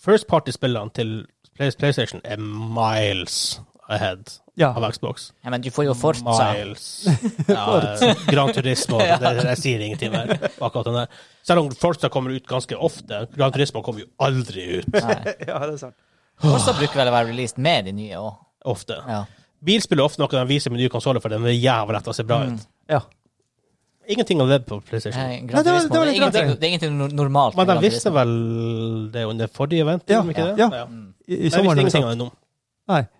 S2: First party-spillene til Play- PlayStation er miles ahead
S3: Ja.
S2: av Xbox.
S1: ja, men du får jo Forza.
S2: Miles.
S3: (laughs)
S2: Ja, eh, Gran Turismo. det, jeg sier ingenting mer. Akkurat den der. Selv om Forza kommer ut ganske ofte. Gran Turismo kommer jo aldri ut
S1: Nei.
S3: Ja, det er sant.
S1: Forza bruker vel å være released med de nye òg.
S2: ofte.
S1: Ja.
S2: Bilspill er ofte noe de viser med nye konsoller, for de er jævla lett å se bra ut.
S3: Ja.
S2: Ingenting av det på PlayStation.
S1: Nei,
S3: Mm. Nei,
S1: Gran
S3: det var-
S1: Turismo,
S3: det var
S1: det er
S3: litt rart,
S1: ingenting-
S3: det.
S1: det er ingenting no- normalt.
S2: Men de
S1: med Gran
S2: visste
S1: Turismo.
S2: vel det under forrige event,
S3: Ja,
S2: gjorde de ikke det?
S3: ja.
S2: Mm.
S3: I, i
S2: Jeg visste
S3: sommeren.
S2: ingenting
S3: liksom.
S2: av det nå.
S3: Nei. (laughs)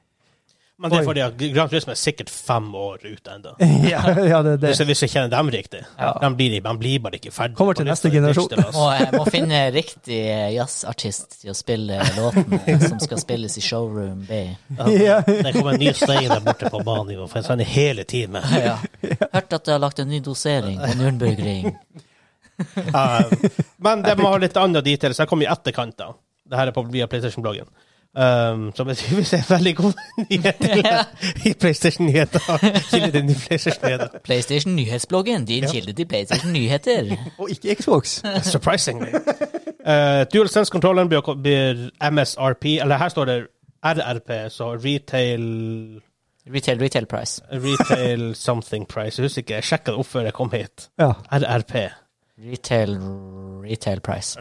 S2: Men det er
S3: Oi.
S2: fordi at Gran Turismo er sikkert fem år ute
S3: (laughs)
S2: ennå.
S3: Ja, ja, det, det.
S2: Hvis, jeg- hvis jeg kjenner dem riktig.
S3: Ja.
S2: De, blir, de blir bare ikke ferdig.
S3: Kommer til
S2: på
S3: neste
S2: neste
S3: generasjon. (laughs)
S2: digital, altså.
S1: Og jeg må finne riktig jazzartist til å spille
S3: (laughs)
S1: låten eh, som skal spilles i showroom B.
S3: Ja.
S2: Det kommer en ny stein der borte på banen i går, for en sånn hele time.
S1: Ja. Hørt at du har lagt en ny dosering på Nürnbergring.
S2: Eh, men det må ha litt andre details. Jeg kom i etterkant, da. Det her er på, via PlayStation-bloggen. Um, så hvis vi er veldig gode nyheter i PlayStation-nyheter. Kilde til PlayStation-nyheter.
S1: PlayStation Nyhetsbloggen, din
S2: Ja.
S1: kilde til PlayStation Nyheter.
S3: Og ikke
S1: (laughs)
S3: Xbox.
S2: Surprisingly. Eh, DualSense-kontrollen blir, blir MSRP, eller her står det RRP, så retail
S1: Retail, retail price.
S2: Retail something price. Jeg husker ikke, jeg sjekka det opp før jeg kom hit.
S3: Ja.
S2: RRP.
S1: Retail, retail price.
S2: I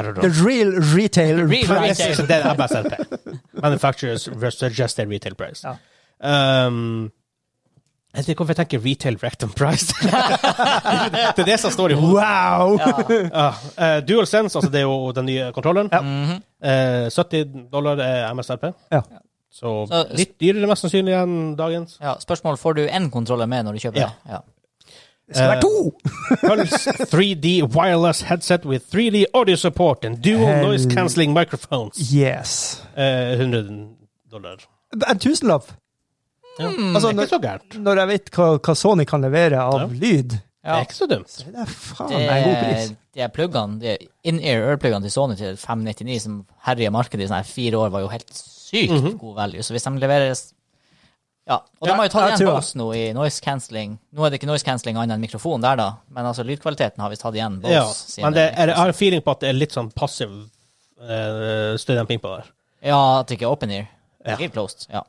S2: don't
S3: The
S2: know.
S3: real retail
S1: Real
S3: price.
S1: retail.
S3: (laughs)
S2: Så det er MSRP. Manufacturers suggested retail price.
S3: Ja.
S2: Um, jeg vet ikke hvorfor jeg tenker retail rectum price. (laughs) det er det som står i hodet.
S3: Wow!
S2: Ja, eh, DualSense, altså det er jo den nye kontrollen.
S1: Mhm.
S2: Eh, 70 dollar er MSRP.
S3: (laughs) Ja.
S2: Så,
S1: Så-
S2: litt dyrere mest sannsynlig enn dagens.
S1: Ja, spørsmål, får du én kontroller med når du kjøper
S2: Ja.
S1: det? Ja.
S3: Det skal være to!
S2: Eh, Pulse 3D wireless headset with 3D audio support and dual
S3: Hell-
S2: noise cancelling microphones.
S3: Yes.
S2: Eh, 100 dollar.
S3: En tusenlapp.
S2: Ja.
S3: Altså,
S2: det er ikke så gærent.
S3: Når jeg vet hva, hva Sony kan levere av
S2: Ja.
S3: lyd,
S2: Det er ikke så dumt.
S3: Ah, det er faen
S1: Det
S3: meg en god
S1: er,
S3: pris.
S1: det er pluggene, det er in-ear ear-pluggene til Sony til 599 som herjer markedet i sånne her fire år, var jo helt sykt god value. Så hvis de leveres Ja. Og de
S2: Ja,
S1: har jo tatt
S3: jeg
S1: igjen
S3: tror-
S1: Bose nå i noise cancelling. Nå er det ikke noise cancelling annet enn mikrofon der, da, men altså lydkvaliteten har visst tatt igjen Bose.
S2: Ja.
S1: sine-
S2: Men det er, jeg har en feeling på at det er litt sånn passiv uh, støydemping på det. her.
S1: Ja, at det ikke er open ear.
S2: Ja.
S1: Helt closed. Ja.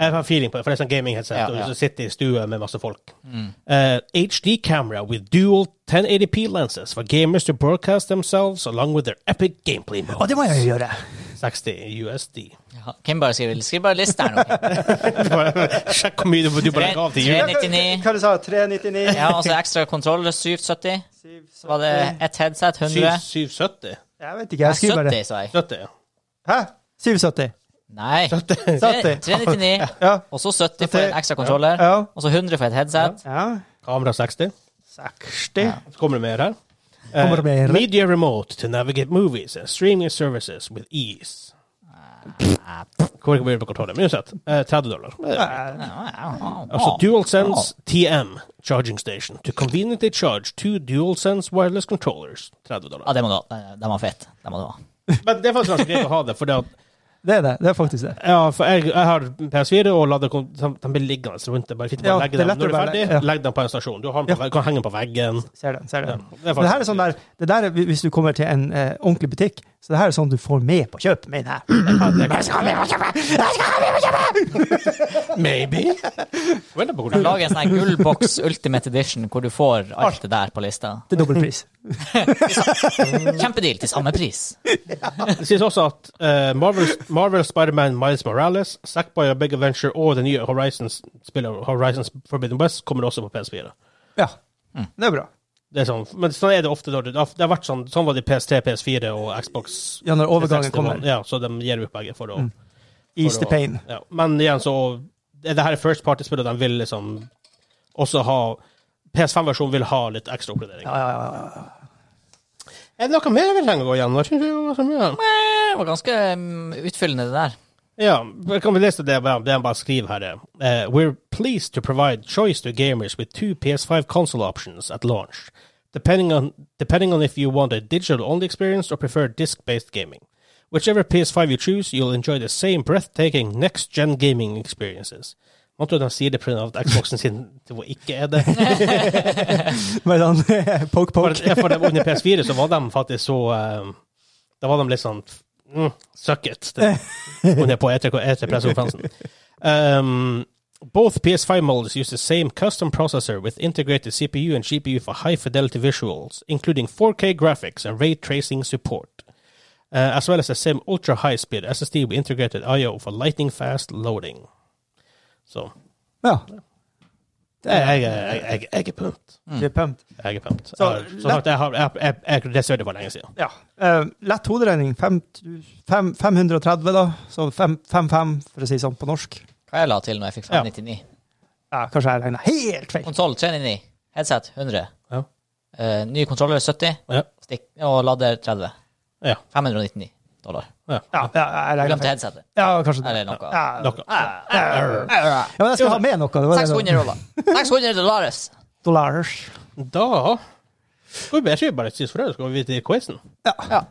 S2: Jeg har en feeling på det, for det er sånn gaming headset,
S1: Ja, ja.
S2: og du sitter i stue med masse folk. Eh, HD camera with dual 1080p lenses for gamers to broadcast themselves along with their epic gameplay mode.
S3: Og det må jeg jo gjøre.
S2: 60 USD.
S1: ja. Kim bare skriver Skriv bare list der nå. Kim.
S2: Sjekk hvor mye du, du bare gav til jul.
S1: 399.
S3: Hva du sa du? 399?
S1: Ja, altså ekstra kontroller 770. Så var det ett headset, 100.
S2: 770?
S3: Jeg vet ikke, jeg skriver bare
S1: 70, sa jeg.
S2: 70, ja.
S3: Hæ? 770.
S1: Nei.
S3: 70.
S1: 399.
S3: Ja.
S1: Og så 70 for en ekstra kontroller.
S3: Ja.
S1: Og så 100 for et headset.
S3: ja.
S2: Kamera 60.
S3: 60.
S2: Så kommer det mer her. Eh,
S3: Kommer det mer?
S2: Media remote to navigate movies and streaming services with ease.
S3: Ah.
S2: Kommer ikke å bli på kontrollen, men uansett. eh, 30 dollar. Eh.
S3: Ja.
S2: Altså DualSense TM charging station to conveniently charge two DualSense wireless controllers. 30
S3: Ah,
S1: Ja,
S2: dollar.
S1: det må du ha. Den- Den var fet. Den må du ha.
S2: Men det er faktisk ganske greit å ha det, for, det at,
S3: Det er det. Det er faktisk det.
S2: ja, for jeg, jeg har PS4 og lader kon- de- de blir liggende rundt det. Bare fint å
S3: Ja,
S2: bare legge
S3: det er
S2: dem
S3: lettere
S2: når du er
S3: å bare
S2: ferdig.
S3: legge- ja.
S2: Legg dem på en stasjon. Du har den på, veggen- kan henge den på veggen.
S3: Ser den. ser
S2: Ja,
S3: den.
S2: det er
S3: Men det her er
S2: faktisk-
S3: sånn der, det der er, Hvis du kommer til en eh, ordentlig butikk, så det her er sånn du får med på kjøp. Med den her. Jeg skal ha med på kjøpet! Jeg skal ha med på kjøpet!
S2: Maybe. (laughs) Vent da på hvordan
S1: Lag en sånn her gullboks Ultimate Edition hvor du får alt det der på lista.
S3: Til dobbel pris.
S1: Kjempedeal til samme pris.
S2: Det sies også at eh, Marvel, Marvel Spider-Man Miles Morales, Sackboy og Big Adventure og det nye Horizons-spillet Horizons Forbidden West kommer også på PS4.
S3: Ja.
S2: Mm.
S3: Det er bra.
S2: Det er sånn, men sånn er det ofte. når Det, det har vært sånn, sånn var det i PS3, PS4 og Xbox.
S3: Ja, når
S2: 360
S3: overgangen kommer. Mm.
S2: var- Ja, så de gir ut begge for å
S3: Ease the
S2: for å-
S3: pain.
S2: Ja. Men igjen, så det her er first party-spill, og de vil liksom også ha PS5-versjonen vil ha litt ekstra oppgradering.
S3: Ja, ja, ja, ja.
S2: Er det noe mer vi trenger å gå gjennom? Jeg synes det var så mye.
S1: Eh, Det var ganske mm, utfyllende, det der.
S2: Ja, jeg kan vi lese det bare, det han bare skriver her. det. Eh, we're pleased to provide choice to gamers with two PS5 console options at launch, depending on, depending on if you want a digital-only experience or prefer disc-based gaming. Whichever PS5 you choose, you'll enjoy the same breathtaking next-gen gaming experiences. Man tror de sier det pga. at Xboxen sin hvor ikke er det.
S3: Med sånn (laughs) poke
S2: For,
S3: poke.
S2: ja, for de, under PS4 så var de faktisk så eh, Da var de litt sånn mm, Suck it. Det- Under på E E3 E3-pressekonferansen. Um, both PS5 models use the same custom processor with integrated CPU and GPU for high fidelity visuals, including 4K graphics and ray tracing support, uh, as well as the same ultra high speed SSD with integrated IO for lightning fast loading. Så
S3: Ja.
S2: jeg, jeg, jeg, jeg, jeg er pumped.
S3: Det er pumped.
S2: Jeg er pumped.
S3: Så,
S2: Jeg har- Som sagt, jeg, har- jeg, jeg, jeg reserverte for lenge siden.
S3: Ja. Eh, lett hoderegning. Fem- fem- 530, da. Så 5-5, for å si sånn på norsk.
S1: Hva jeg la til når jeg fikk 599?
S3: Ja, kanskje jeg regner helt feil.
S2: Sånn
S1: Konsoll 399. Headset 100.
S2: Ja.
S1: Eh, ny kontroller 70.
S2: Ja.
S1: Stikk, og lader 30.
S2: Ja.
S1: 599 dollar.
S3: Ja, ja, jeg regner
S1: Glemte
S3: feil.
S1: headsetet.
S3: Ja, kanskje
S1: Eller
S3: det.
S1: noe.
S3: Ja.
S2: Noe.
S3: ja, men jeg skal ha med noe. Det var det.
S1: 600 dollar. 600 dollars.
S3: Dollars.
S2: Da skal vi, Jeg tror vi bare sier for det, så skal vi til quizen.
S3: Ja.
S1: Ja.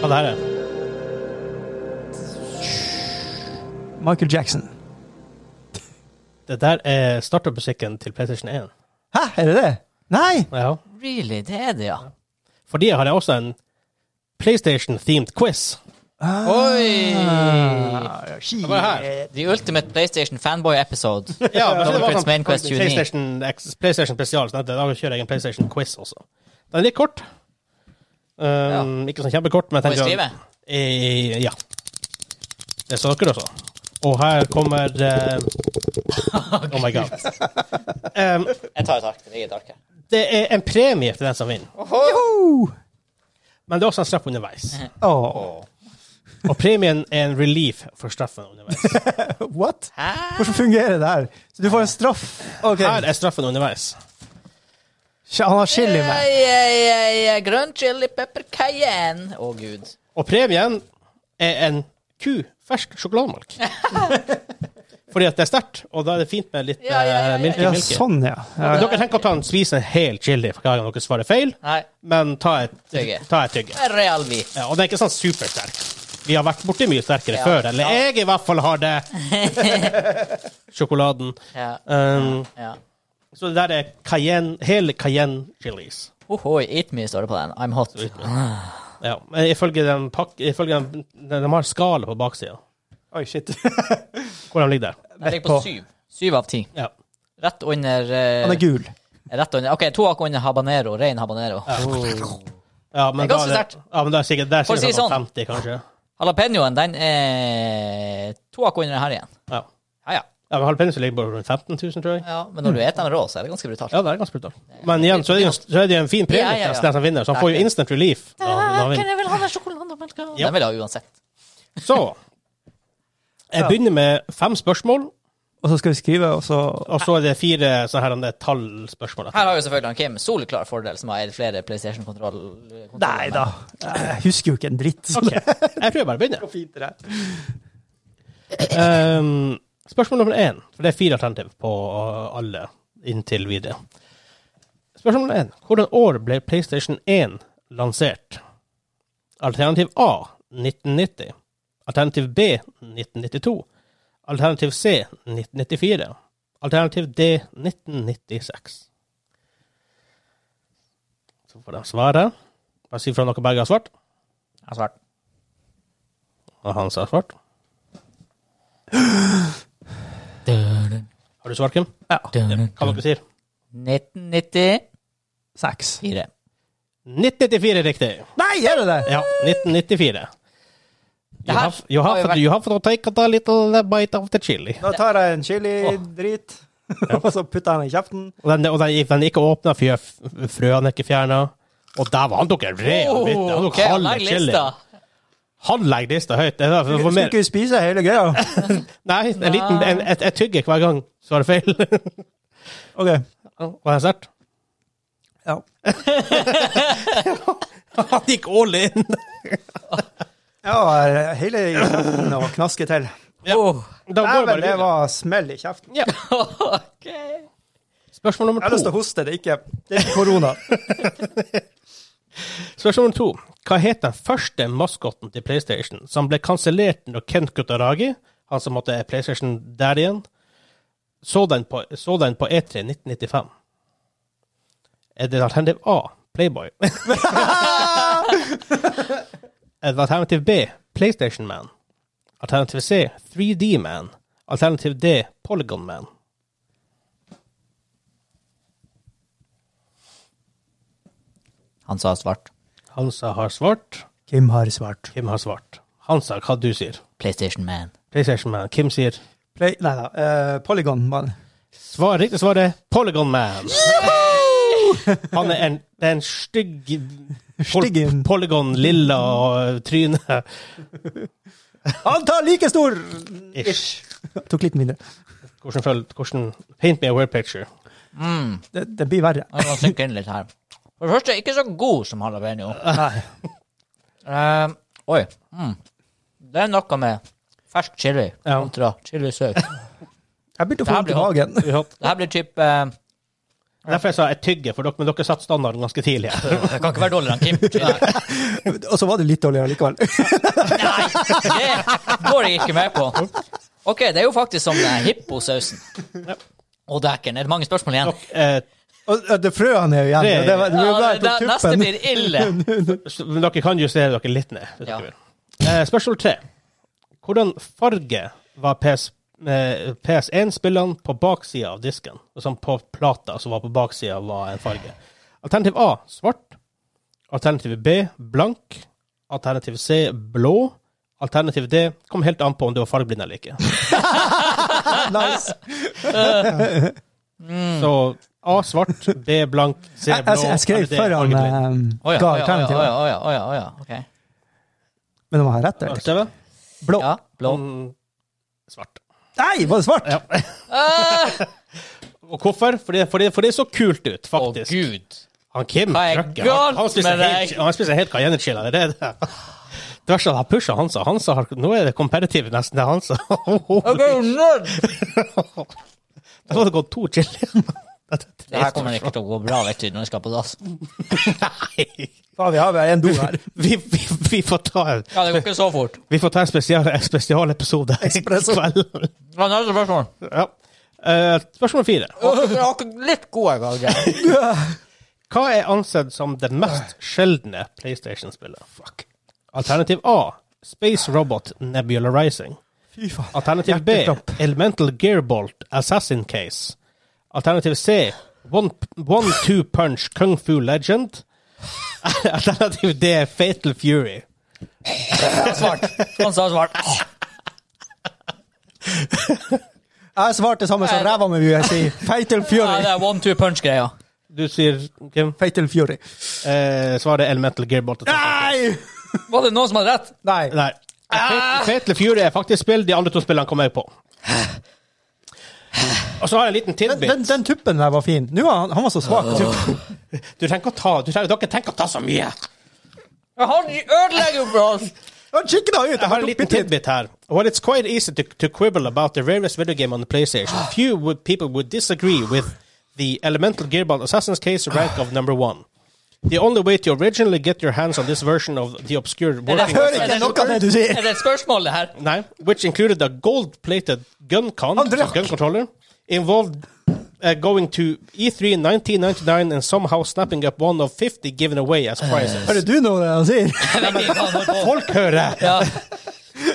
S2: Hva det her er?
S3: Michael Jackson.
S2: Det der er startermusikken til PlayStation 1.
S3: Hæ, er det det? Nei!
S2: Ja.
S1: Really, det er det, ja.
S2: Fordi jeg har også en PlayStation-themed quiz.
S1: Oi!
S3: Hva
S2: var det her?
S1: The ultimate PlayStation fanboy episode.
S2: Ja,
S1: men det var sånn Main Quest 29.
S2: PlayStation, X- PlayStation spesial. Så da kjører jeg en PlayStation-quiz også. Den er litt kort. Um, Ikke sånn kjempekort, men
S1: Må
S2: jeg
S1: jeg
S2: tenker
S1: skrive?
S2: Eh, ja. Det sa dere også. Og her kommer
S1: (laughs)
S2: eh, Oh my god. Um,
S1: Jeg tar et ark. Det ligger et ark her.
S2: det er en premie til den som vinner,
S3: Joho!
S2: men det er også en straff
S1: (laughs)
S2: underveis.
S3: Åh,
S2: Og premien er en relief for straffen underveis.
S1: (laughs)
S3: what?
S1: Hæ?
S3: Hvordan fungerer det her? Så du får en straff? Ok,
S2: Her er straffen underveis.
S3: Han har chili med.
S1: Ei, ei, ei, ei, Grønn chili pepper cayenne. Å, gud.
S2: Og premien er en ku fersk sjokolademelk.
S1: (laughs)
S2: Fordi at det er sterkt, og da er det fint med litt
S1: Ja, ja, ja, ja.
S2: eh, milky
S3: Ja,
S2: milky.
S3: sånn, ja. ja.
S2: Dere trenger ikke å ta en, spise en hel chili for hver gang dere svarer feil,
S1: Nei.
S2: men ta et tygge.
S1: Tygge.
S2: Ta et tygge.
S1: Real hvit.
S2: Ja, og den er ikke sånn supersterk. Vi har vært borti mye sterkere
S1: Ja.
S2: før, eller
S1: Ja.
S2: jeg i hvert fall har det.
S1: (laughs)
S2: Sjokoladen.
S1: Ja.
S2: Um,
S1: ja.
S2: så det der er cayenne, hele cayenne chilis.
S1: Ohoi, eat me, står det på den. I'm hot.
S2: Ja, men ifølge den pakk... Ifølge den, de de har skala på baksida.
S3: Oi, shit.
S2: (laughs) Hvor de ligger der.
S1: Den ligger på syv. Syv av ti.
S2: Ja.
S1: Rett under, eh,
S3: Han er gul.
S1: rett under OK, to hakk under habanero. Rein habanero.
S2: Ja,
S1: Det
S2: men
S1: er ganske
S2: da
S1: sterkt.
S2: Ja, men da er sikkert, det er
S1: For å
S2: sikkert
S1: si
S2: sånn
S1: sånn.
S2: 50, kanskje.
S1: Jalapeñoen, den er to hakk under her igjen.
S2: Ja.
S1: Ja, ja.
S2: ja men Jalapenoen ligger bare rundt 15 000, tror jeg.
S1: ja men når du spiser den rå, så er det ganske brutalt.
S2: Ja, det er ganske brutalt. Men igjen, så er det jo en, så er det jo en fin premie
S1: Ja, ja, ja.
S2: til den som vinner, så han får jo instant
S1: (laughs)
S2: relief. når han- når han vinner.
S1: jeg vil ha den sjokolademelka.
S2: Ja.
S1: Den vil jeg ha uansett.
S2: Så Jeg begynner med fem spørsmål,
S3: Og så skal vi skrive, og så
S2: og så er det fire sånne her om det er tallspørsmål.
S1: Her har jo selvfølgelig han Kim soleklar fordel, som har eid flere PlayStation-kontroller.
S3: Nei da. Jeg husker jo ikke en dritt.
S2: Ok, Jeg prøver bare å begynne.
S3: fint det er.
S2: Ehm, spørsmål nummer én, for det er fire alternativ på uh, alle inntil videre. Spørsmål nummer én. Hvordan år ble PlayStation 1 lansert? Alternativ A 1990. Alternativ B 1992. Alternativ C 1994. Alternativ D 1996. Så får de svare. Bare si fra om dere begge har svart.
S1: Jeg har svart.
S2: Og han sa svart. Har du svart, Kim?
S3: Ja.
S2: Hva dere sier
S1: 1994.
S3: Seks.
S2: 1994 er riktig.
S3: Nei, er det det?
S2: Ja, 1994.
S1: Det
S2: You
S1: her
S2: have, you,
S1: har
S2: have
S1: jo
S2: to,
S1: vært-
S2: you have to take a little uh, bite of the chili.
S3: Da tar jeg en chili-drit, (laughs) og så putter jeg den i kjeften.
S2: Og den, og den, den er ikke åpna, for jeg- frøene er ikke fjerna. Og dæven, han tok en rev!
S1: Oh,
S2: bitte. han tok
S1: ok, han
S2: halve
S1: legger
S2: chili.
S1: lista.
S2: Han legger lista høyt. Det er derfor- for
S3: Skal
S2: mer.
S3: ikke vi spise hele greia?
S2: Nei, en liten, en, et, et tygge hver gang, så er det feil.
S3: OK.
S2: Var det sterkt?
S3: Ja.
S2: Han gikk all in!
S3: Ja, hele kjeften og knaske til.
S1: Oh.
S2: Da går det
S3: Dæven,
S2: bare
S3: det
S2: videre.
S3: var smell i kjeften. Jeg
S1: OK.
S2: Spørsmål nummer
S3: har lyst
S2: to.
S3: til å hoste, det er ikke, det er ikke korona.
S2: Spørsmål nummer to. Hva het den første maskotten til PlayStation, som ble kansellert når Kent Kutaragi, han som måtte er PlayStation der igjen, så den på, så den på E E3 1995? Er det alternativ A Playboy? (laughs) er det alternativ B PlayStation Man? Alternativ C 3D Man? Alternativ D Polygon Man?
S1: Han sa svart.
S2: Hansa har svart.
S3: (laughs) Kim har svart.
S2: Kim har svart. Hansa, hva du sier?
S1: PlayStation Man.
S2: PlayStation Man. Kim sier
S3: Play, nei da, eh, Polygon, mann.
S2: Svar, riktig svar er Polygon Man. Han er en, det er en stygg pol-
S3: Styggen.
S2: Polygon lilla og tryne.
S3: Han tar like stor!
S2: Ish.
S3: Tok litt mindre.
S2: Hvordan, føl- hvordan Paint me a weird picture.
S3: Det, det blir verre.
S1: Jeg må synke inn litt her. For det første, ikke så god som jalapeño.
S3: Ah.
S1: Um, oi. Mm. Det er noe med fersk chili
S2: Ja.
S1: kontra chilisaus.
S3: Jeg
S1: Det
S3: begynte å få
S1: her
S3: vondt i
S1: blir
S3: magen.
S1: Det her blir typ eh,
S2: Derfor jeg sa jeg tygger, for dere, men dere satte standarden ganske tidlig.
S1: Det kan ikke være dårligere enn Kim. Nei,
S3: (laughs) Og så var det litt dårligere likevel.
S1: det går jeg ikke med på. OK, det er jo faktisk som eh, hipposausen. Å, dæken. Er det mange spørsmål igjen?
S2: Dere, eh,
S3: (laughs) Og og det frøene er jo igjen. og Det, var- det, var jo bra
S1: Ja,
S3: jeg
S1: det,
S3: tok
S1: neste
S3: tuppen. (laughs)
S1: blir ille.
S2: s- (laughs) men dere kan justere dere litt ned. hvis
S1: Ja.
S2: dere vil. Eh, spørsmål tre. Hvordan farge var PS, eh, PS1-spillene på baksida av disken? Sånn på plata som var på baksida, var en farge. Alternativ A svart. Alternativ B blank. Alternativ C blå. Alternativ D kom helt an på om du var fargeblind eller ikke.
S3: Nice.
S1: Mm.
S2: Så A svart, B blank, C blå.
S3: Jeg, jeg, jeg skrev
S2: eller D,
S3: foran
S2: fargeblind.
S3: um,
S1: Å ja, å ja,
S3: ga
S1: å
S3: alternativ,
S1: ja, å ja, å ja, å ja. ok.
S3: men de har
S2: Har
S3: rett.
S2: du
S3: Eller?
S2: skrevet?
S3: Blå.
S1: Ja, blå.
S2: Mm, Svart.
S3: Nei, var det svart?
S2: Ja. Og hvorfor? Fordi, fordi, fordi det så kult ut,
S1: Å,
S2: faktisk.
S1: gud.
S2: han Kim
S1: Hva er
S2: trøkker. Han, han,
S1: galt
S2: spiser
S1: med
S2: helt-
S1: deg?
S2: han spiser helt cayennechilla. Det (laughs) er det. Det verste er at jeg pusha Hansa. Hansa har, nå er det competitive nesten til (laughs) Hansa. Da hadde det gått to
S1: (laughs)
S2: chili.
S1: Det her kommer ikke til å gå bra vet du, når vi skal på dass.
S2: Nei.
S3: Ja, vi har bare en do
S1: (laughs)
S3: her.
S2: (laughs) Vi, vi, vi får ta en,
S1: Ja, det går ikke så fort.
S2: vi får ta en spesial, en spesialepisode i kveld. (laughs)
S1: Ja, neste spørsmål.
S2: Ja. Eh, spørsmål fire.
S1: Litt gode ganger.
S2: Hva er ansett som det mest sjeldne PlayStation-spillet? Fuck. Alternativ A. Space Robot Nebula Rising.
S3: Fy faen.
S2: Alternativ B.
S3: Hjerteklapp.
S2: Elemental Gearbolt Assassin Case. Alternativ C. One- One-Two Punch Kung Fu Legend. (laughs) Alternativ D. Fatal Fury.
S1: Svart. Han sa svart.
S3: Jeg svarte samme som ræva mi, vil jeg si.
S1: Ja,
S3: Fatal
S1: det
S3: Fury.
S1: er one-two-punch-greia.
S2: Du sier, Kim,
S3: Fatal Fury.
S2: eh, svaret er Elemental Gearbolt Assassin Case.
S3: Nei!
S1: Var det noen som hadde rett?
S3: Nei.
S2: Nei. Fet- Fatal Fury er faktisk spill. De andre to spillene kommer jeg på. Og så har jeg en liten
S3: Den,
S2: tidbit.
S3: den, den tuppen der var fin. Nå var han, han var så svak. tupp.
S2: Du trenger ikke å ta, du trenger, dere trenger ikke å ta så mye.
S1: Han ødelegger jo for oss.
S3: Han kikket da ut!
S2: Jeg har en liten tidbit her. While it's quite easy to, to quibble about the rarest video game on the
S3: (gasps)
S2: PlayStation, few would, people would disagree with the Elemental Gearbound Assassin's Case rank of number one. The only way to originally get your hands on this version of the obscure
S1: Jeg
S2: working
S3: hører ikke noe av det du sier!
S1: Er det et spørsmål, det her?
S2: Nei, which included a gold-plated gun con,
S3: Han drakk.
S2: gun controller, involved uh, going to E3 1999 and somehow snapping up one of 50 given away
S3: Eh.
S2: as prizes.
S3: Hører du noe av det han sier?
S1: Jeg vet ikke hva han holder på.
S2: Folk hører!
S1: Ja.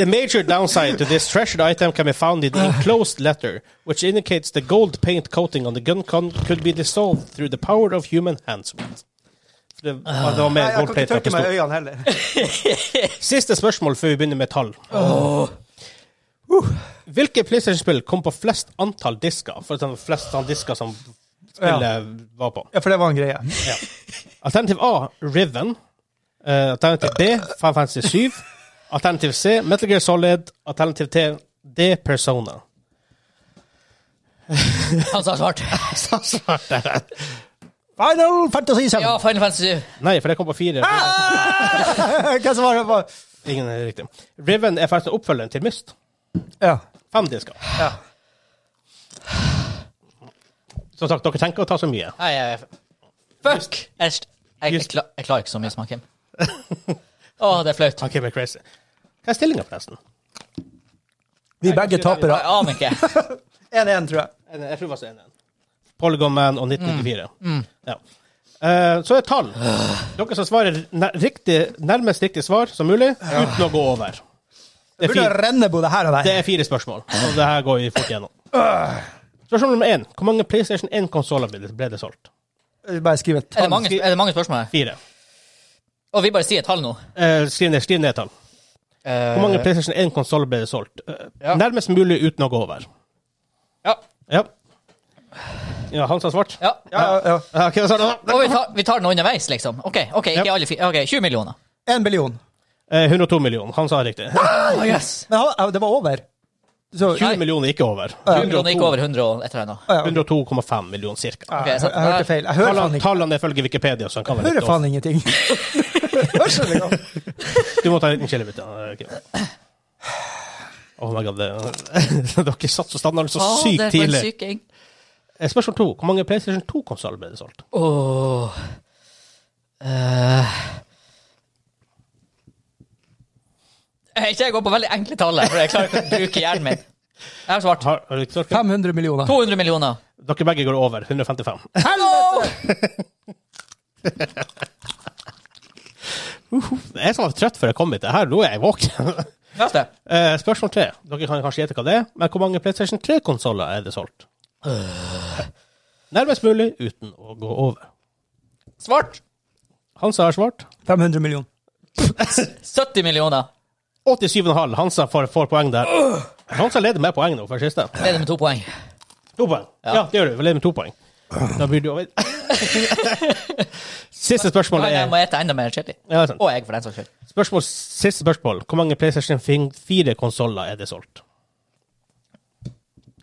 S2: The major downside to this treasured item can be found in the enclosed letter, which indicates the gold paint coating on the gun con could be dissolved through the power of human hands. Det var, det var mer gold plate der på stort.
S3: øynene heller.
S2: Siste spørsmål før vi begynner med tall. Uh. Hvilke PlayStation-spill kom på flest antall disker? For eksempel flest antall disker som spillet var på.
S3: Ja, for det var en greie.
S2: Alternativ A, Riven. Eh, alternativ B, Final Fantasy 7. Alternativ C, Metal Gear Solid. Alternativ T, D, Persona.
S1: Han sa svart.
S3: Final Fantasy 7.
S1: Ja, Final Fantasy 7.
S2: Nei, for det kom på fire.
S3: (laughs) Hva svarer på?
S2: Ingen er riktig. Riven er faktisk oppfølgeren til Myst.
S3: Ja.
S2: Fem disker. Som sagt, dere tenker å ta så mye.
S1: Nei, jeg- Fuck! Jeg, jeg, jeg, kla- jeg klarer ikke så mye som han Kim. Å, det er flaut.
S2: Han Kim er crazy. Hva er stillinga, forresten?
S3: Vi begge tapere.
S1: Jeg aner ikke.
S3: 1-1, tror jeg.
S2: En- Jeg tror det var så en- en. Polygon Man og 1994.
S1: Mm.
S2: Ja. Eh, så er tall. Dere som svarer nær- riktig, nærmest riktig svar som mulig, uten å gå over. Det er
S3: Burde
S2: fire,
S3: renne både her og
S2: det
S3: der.
S2: er fire spørsmål, og det her går vi fort gjennom. Spørsmål nummer én. Hvor mange PlayStation 1-konsoller ble, det- ble det solgt?
S3: Bare skriv
S1: Er
S3: et
S1: det
S3: tall.
S1: mange, er det mange spørsmål her?
S2: Fire.
S1: Og vi bare sier et tall nå.
S2: Eh, skriv ned, skriv ned et tall.
S1: Eh,
S2: Hvor mange PlayStation 1-konsoller ble det solgt? Eh,
S1: Ja.
S2: Nærmest mulig uten å gå over.
S1: Ja.
S2: Ja. Ja, han sa svart?
S1: ja.
S3: Ja, ja,
S2: Ja, (laughs) ok, hva sa du da?
S1: Og vi tar, vi tar den underveis, liksom. OK, ok, ikke
S2: Ja.
S1: alle fire. Ok, 20 millioner.
S3: ja. En billion.
S2: Eh, 102 millioner. Han sa riktig.
S1: Oh, yes.
S3: Men han- ja, det var over. Så,
S1: Nei.
S2: 20 millioner gikk over.
S1: 20 millioner gikk over 100 og et eller annet.
S3: Ah, ja.
S2: 102,5 millioner cirka.
S1: Ok,
S3: jeg,
S1: så-
S3: jeg hørte feil. Jeg hører faen
S2: Tallene,
S3: ikke.
S2: tallene er ifølge Wikipedia, så han kan
S3: Jeg
S2: være
S3: hører
S2: litt
S3: faen
S2: off.
S3: ingenting. (laughs) Hørselen (laughs) er god.
S2: Du må ta en liten killebit. (laughs) Oh my god, det, dere satt så standard så altså. sykt tidlig.
S1: syking.
S2: Eh, Spørsmål to. Hvor mange PlayStation 2-konsoller ble det solgt?
S1: Åh Eh. Jeg jeg går på veldig enkle tall, her, for jeg klarer ikke å bruke hjernen min. Jeg har svart.
S2: Har, har du ikke svart?
S3: 500 millioner.
S1: 200 millioner.
S2: Dere begge går over. 155.
S1: Hallo!
S2: Jeg som var trøtt før jeg kom hit. Her, nå er jeg våken. (laughs)
S1: Neste.
S2: Eh, spørsmål tre. Dere kan kanskje gjette hva det er, men hvor mange PlayStation 3-konsoller er det solgt? Nærmest mulig uten å gå over.
S1: Svart.
S2: Hansa har svart.
S3: 500 millioner.
S1: 70 millioner.
S2: 87,5. Hansa får, får poeng der. Hansa leder med poeng nå for siste.
S1: Leder med to poeng.
S2: To poeng. Ja, det gjør du. Vi leder med to poeng. Da blir du over. siste spørsmål
S1: Men jeg
S2: er
S1: må ete enda mer chili.
S2: ja, det er sant.
S1: Og egg, for den saks skyld.
S2: spørsmål, Siste spørsmål. Hvor mange PlayStation 4-konsoller er det solgt?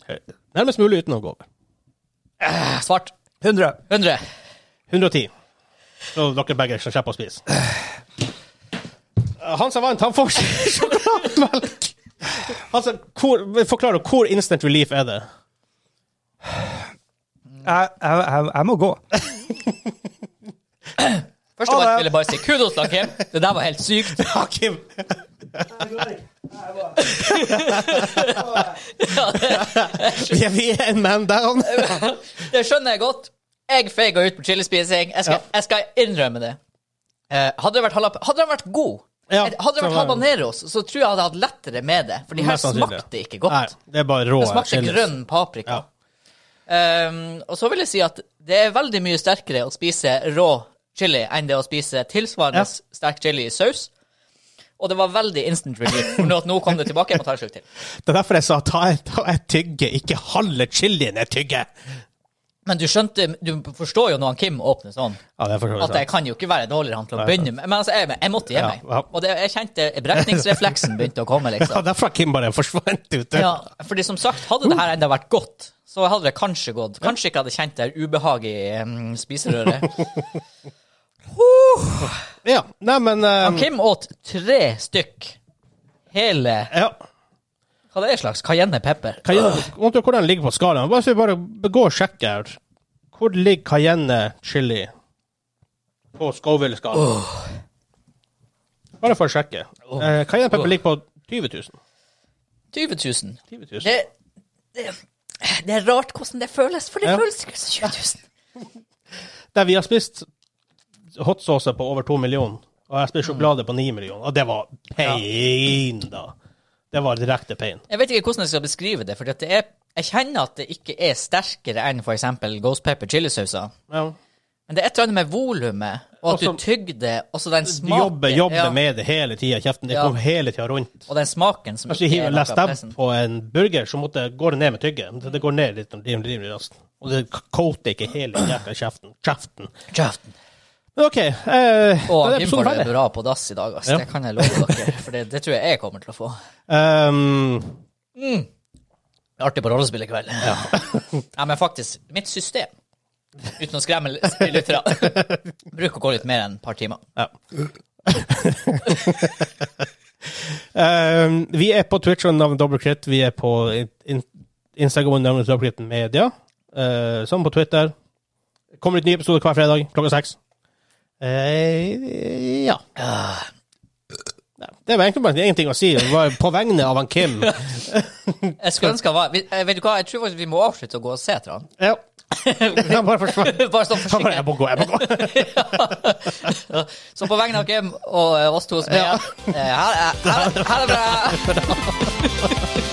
S2: Eh, Nærmest mulig uten å gå over.
S1: Eh, Svart.
S3: 100.
S1: 100.
S2: 110. Så dere begge skal slippe å spise. Eh, Han som vant, han får (laughs) sjokolademelk! Altså, hvor, forklar nå, hvor instant relief er det?
S3: Jeg, jeg, jeg, jeg må gå.
S1: Først av
S3: Ha det.
S1: alt vil jeg bare si kudos, da, Kim. Det der var helt
S2: (laughs)
S1: sykt.
S2: Hakim!
S1: Ja, det-
S2: Vi er, vi er en man down.
S1: Det skjønner jeg godt. Jeg feiga ut på chilispising. Jeg, skal- jeg skal innrømme det. Eh, hadde det vært, halap- hadde det vært god Eh,
S2: Ja,
S1: Hadde det vært
S2: så var det-
S1: habaneros, så tror jeg jeg hadde hatt lettere med det. For de her
S2: Mest sannsynlig.
S1: smakte ikke godt.
S2: Nei, det er bare rå
S1: Det smakte
S2: chilis.
S1: grønn paprika.
S2: Ja.
S1: Ehm, og så vil jeg si at det er veldig mye sterkere å spise rå chili enn det å spise tilsvarende sterk chili i saus. Og det var veldig instant relief. For nå- nå kom det tilbake. Jeg må ta en slurk til.
S2: Det er derfor jeg sa ta et, ta et tygge, ikke halve chilien jeg tygger.
S1: Men du skjønte, du forstår jo når han Kim åpner sånn,
S2: Ja, det forstår
S1: at jeg kan jo ikke være dårligere han til å
S2: Nei,
S1: begynne med. Men altså, jeg, jeg måtte gi
S2: Ja,
S1: meg.
S2: ja.
S1: Og det, jeg kjente brekningsrefleksen begynte å komme, liksom.
S2: Ja, derfor har Kim bare forsvant ut.
S1: Ja, fordi som sagt, hadde det her enda vært godt, så hadde det kanskje gått. Kanskje ikke hadde kjent det her ubehaget i mm, spiserøret.
S2: Ja, nei, men eh,
S1: Kim åt tre stykk hele
S2: ja.
S1: Hva det er slags cayennepepper?
S2: Cayenne, Vet du hvordan den ligger på skalaen? Bare, så vi bare gå og sjekke her. Hvor ligger cayenne chili på Scoville-skalaen? Bare for å sjekke. Eh, cayenne pepper
S1: Åh.
S2: ligger på 20 000.
S1: 20 000.
S2: 20 000.
S1: Det, det, det er rart hvordan det føles, for det
S2: Ja.
S1: føles ikke som 20 000.
S2: Der vi har spist hot sauce på over 2 millioner, og jeg har spist sjokolade på 9 millioner, og det var pain, da. Det var direkte pain.
S1: Jeg vet ikke hvordan jeg skal beskrive det, for det er, jeg kjenner at det ikke er sterkere enn f.eks. ghost pepper chilisauser.
S2: Ja.
S1: Men det er et eller annet med volumet, og at
S2: Også-
S1: du tygde, og så den
S2: Du
S1: smaken
S2: jobber, jobber
S1: ja.
S2: med det hele tida, kjeften. Det
S1: Ja.
S2: kom hele tida rundt.
S1: Og den smaken som
S2: Hvis du hiver
S1: er
S2: en
S1: noe
S2: last
S1: av
S2: dab
S1: pressen.
S2: på en burger, så måtte, går det ned med tygget. Men Det går ned litt rimelig, rimelig raskt. Og det coater ikke hele jækla kjeften. kjeften.
S1: Kjeften.
S2: Men OK. Eh,
S1: Og
S2: da er
S1: Gimbar
S2: episoden
S1: er
S2: ferdig.
S1: bra på dass i dag, ass.
S2: Ja.
S1: Det kan jeg love dere. For det, det tror jeg jeg kommer til å få.
S2: Um,
S1: Det er Artig på rollespill i kveld. (laughs) Ja. men faktisk, mitt system, uten å skremme l- lyttere, (laughs) bruker å gå litt mer enn et par timer.
S2: um, vi er på Twitch under navnet Dobbeltkritt. Vi er på in- in- Instagram under navnet Dobbeltkritt Media. Uh, som på Twitter. Kommer ut nye episoder hver fredag klokka seks. Eh, ja. Nei, Det var egentlig bare ingenting å si. Det var på vegne av han Kim.
S1: Jeg skulle ønske han var vi- eh, Vet du hva, jeg tror faktisk vi må avslutte å gå og se etter (laughs) han.
S2: Ja. Han bare forsvant.
S1: Bare sånn for
S2: Han bare,
S1: sikkerhet.
S2: Jeg må gå, jeg må gå.
S1: Så på vegne av Kim og eh, oss to som er igjen, eh, her er, her, er- her er bra!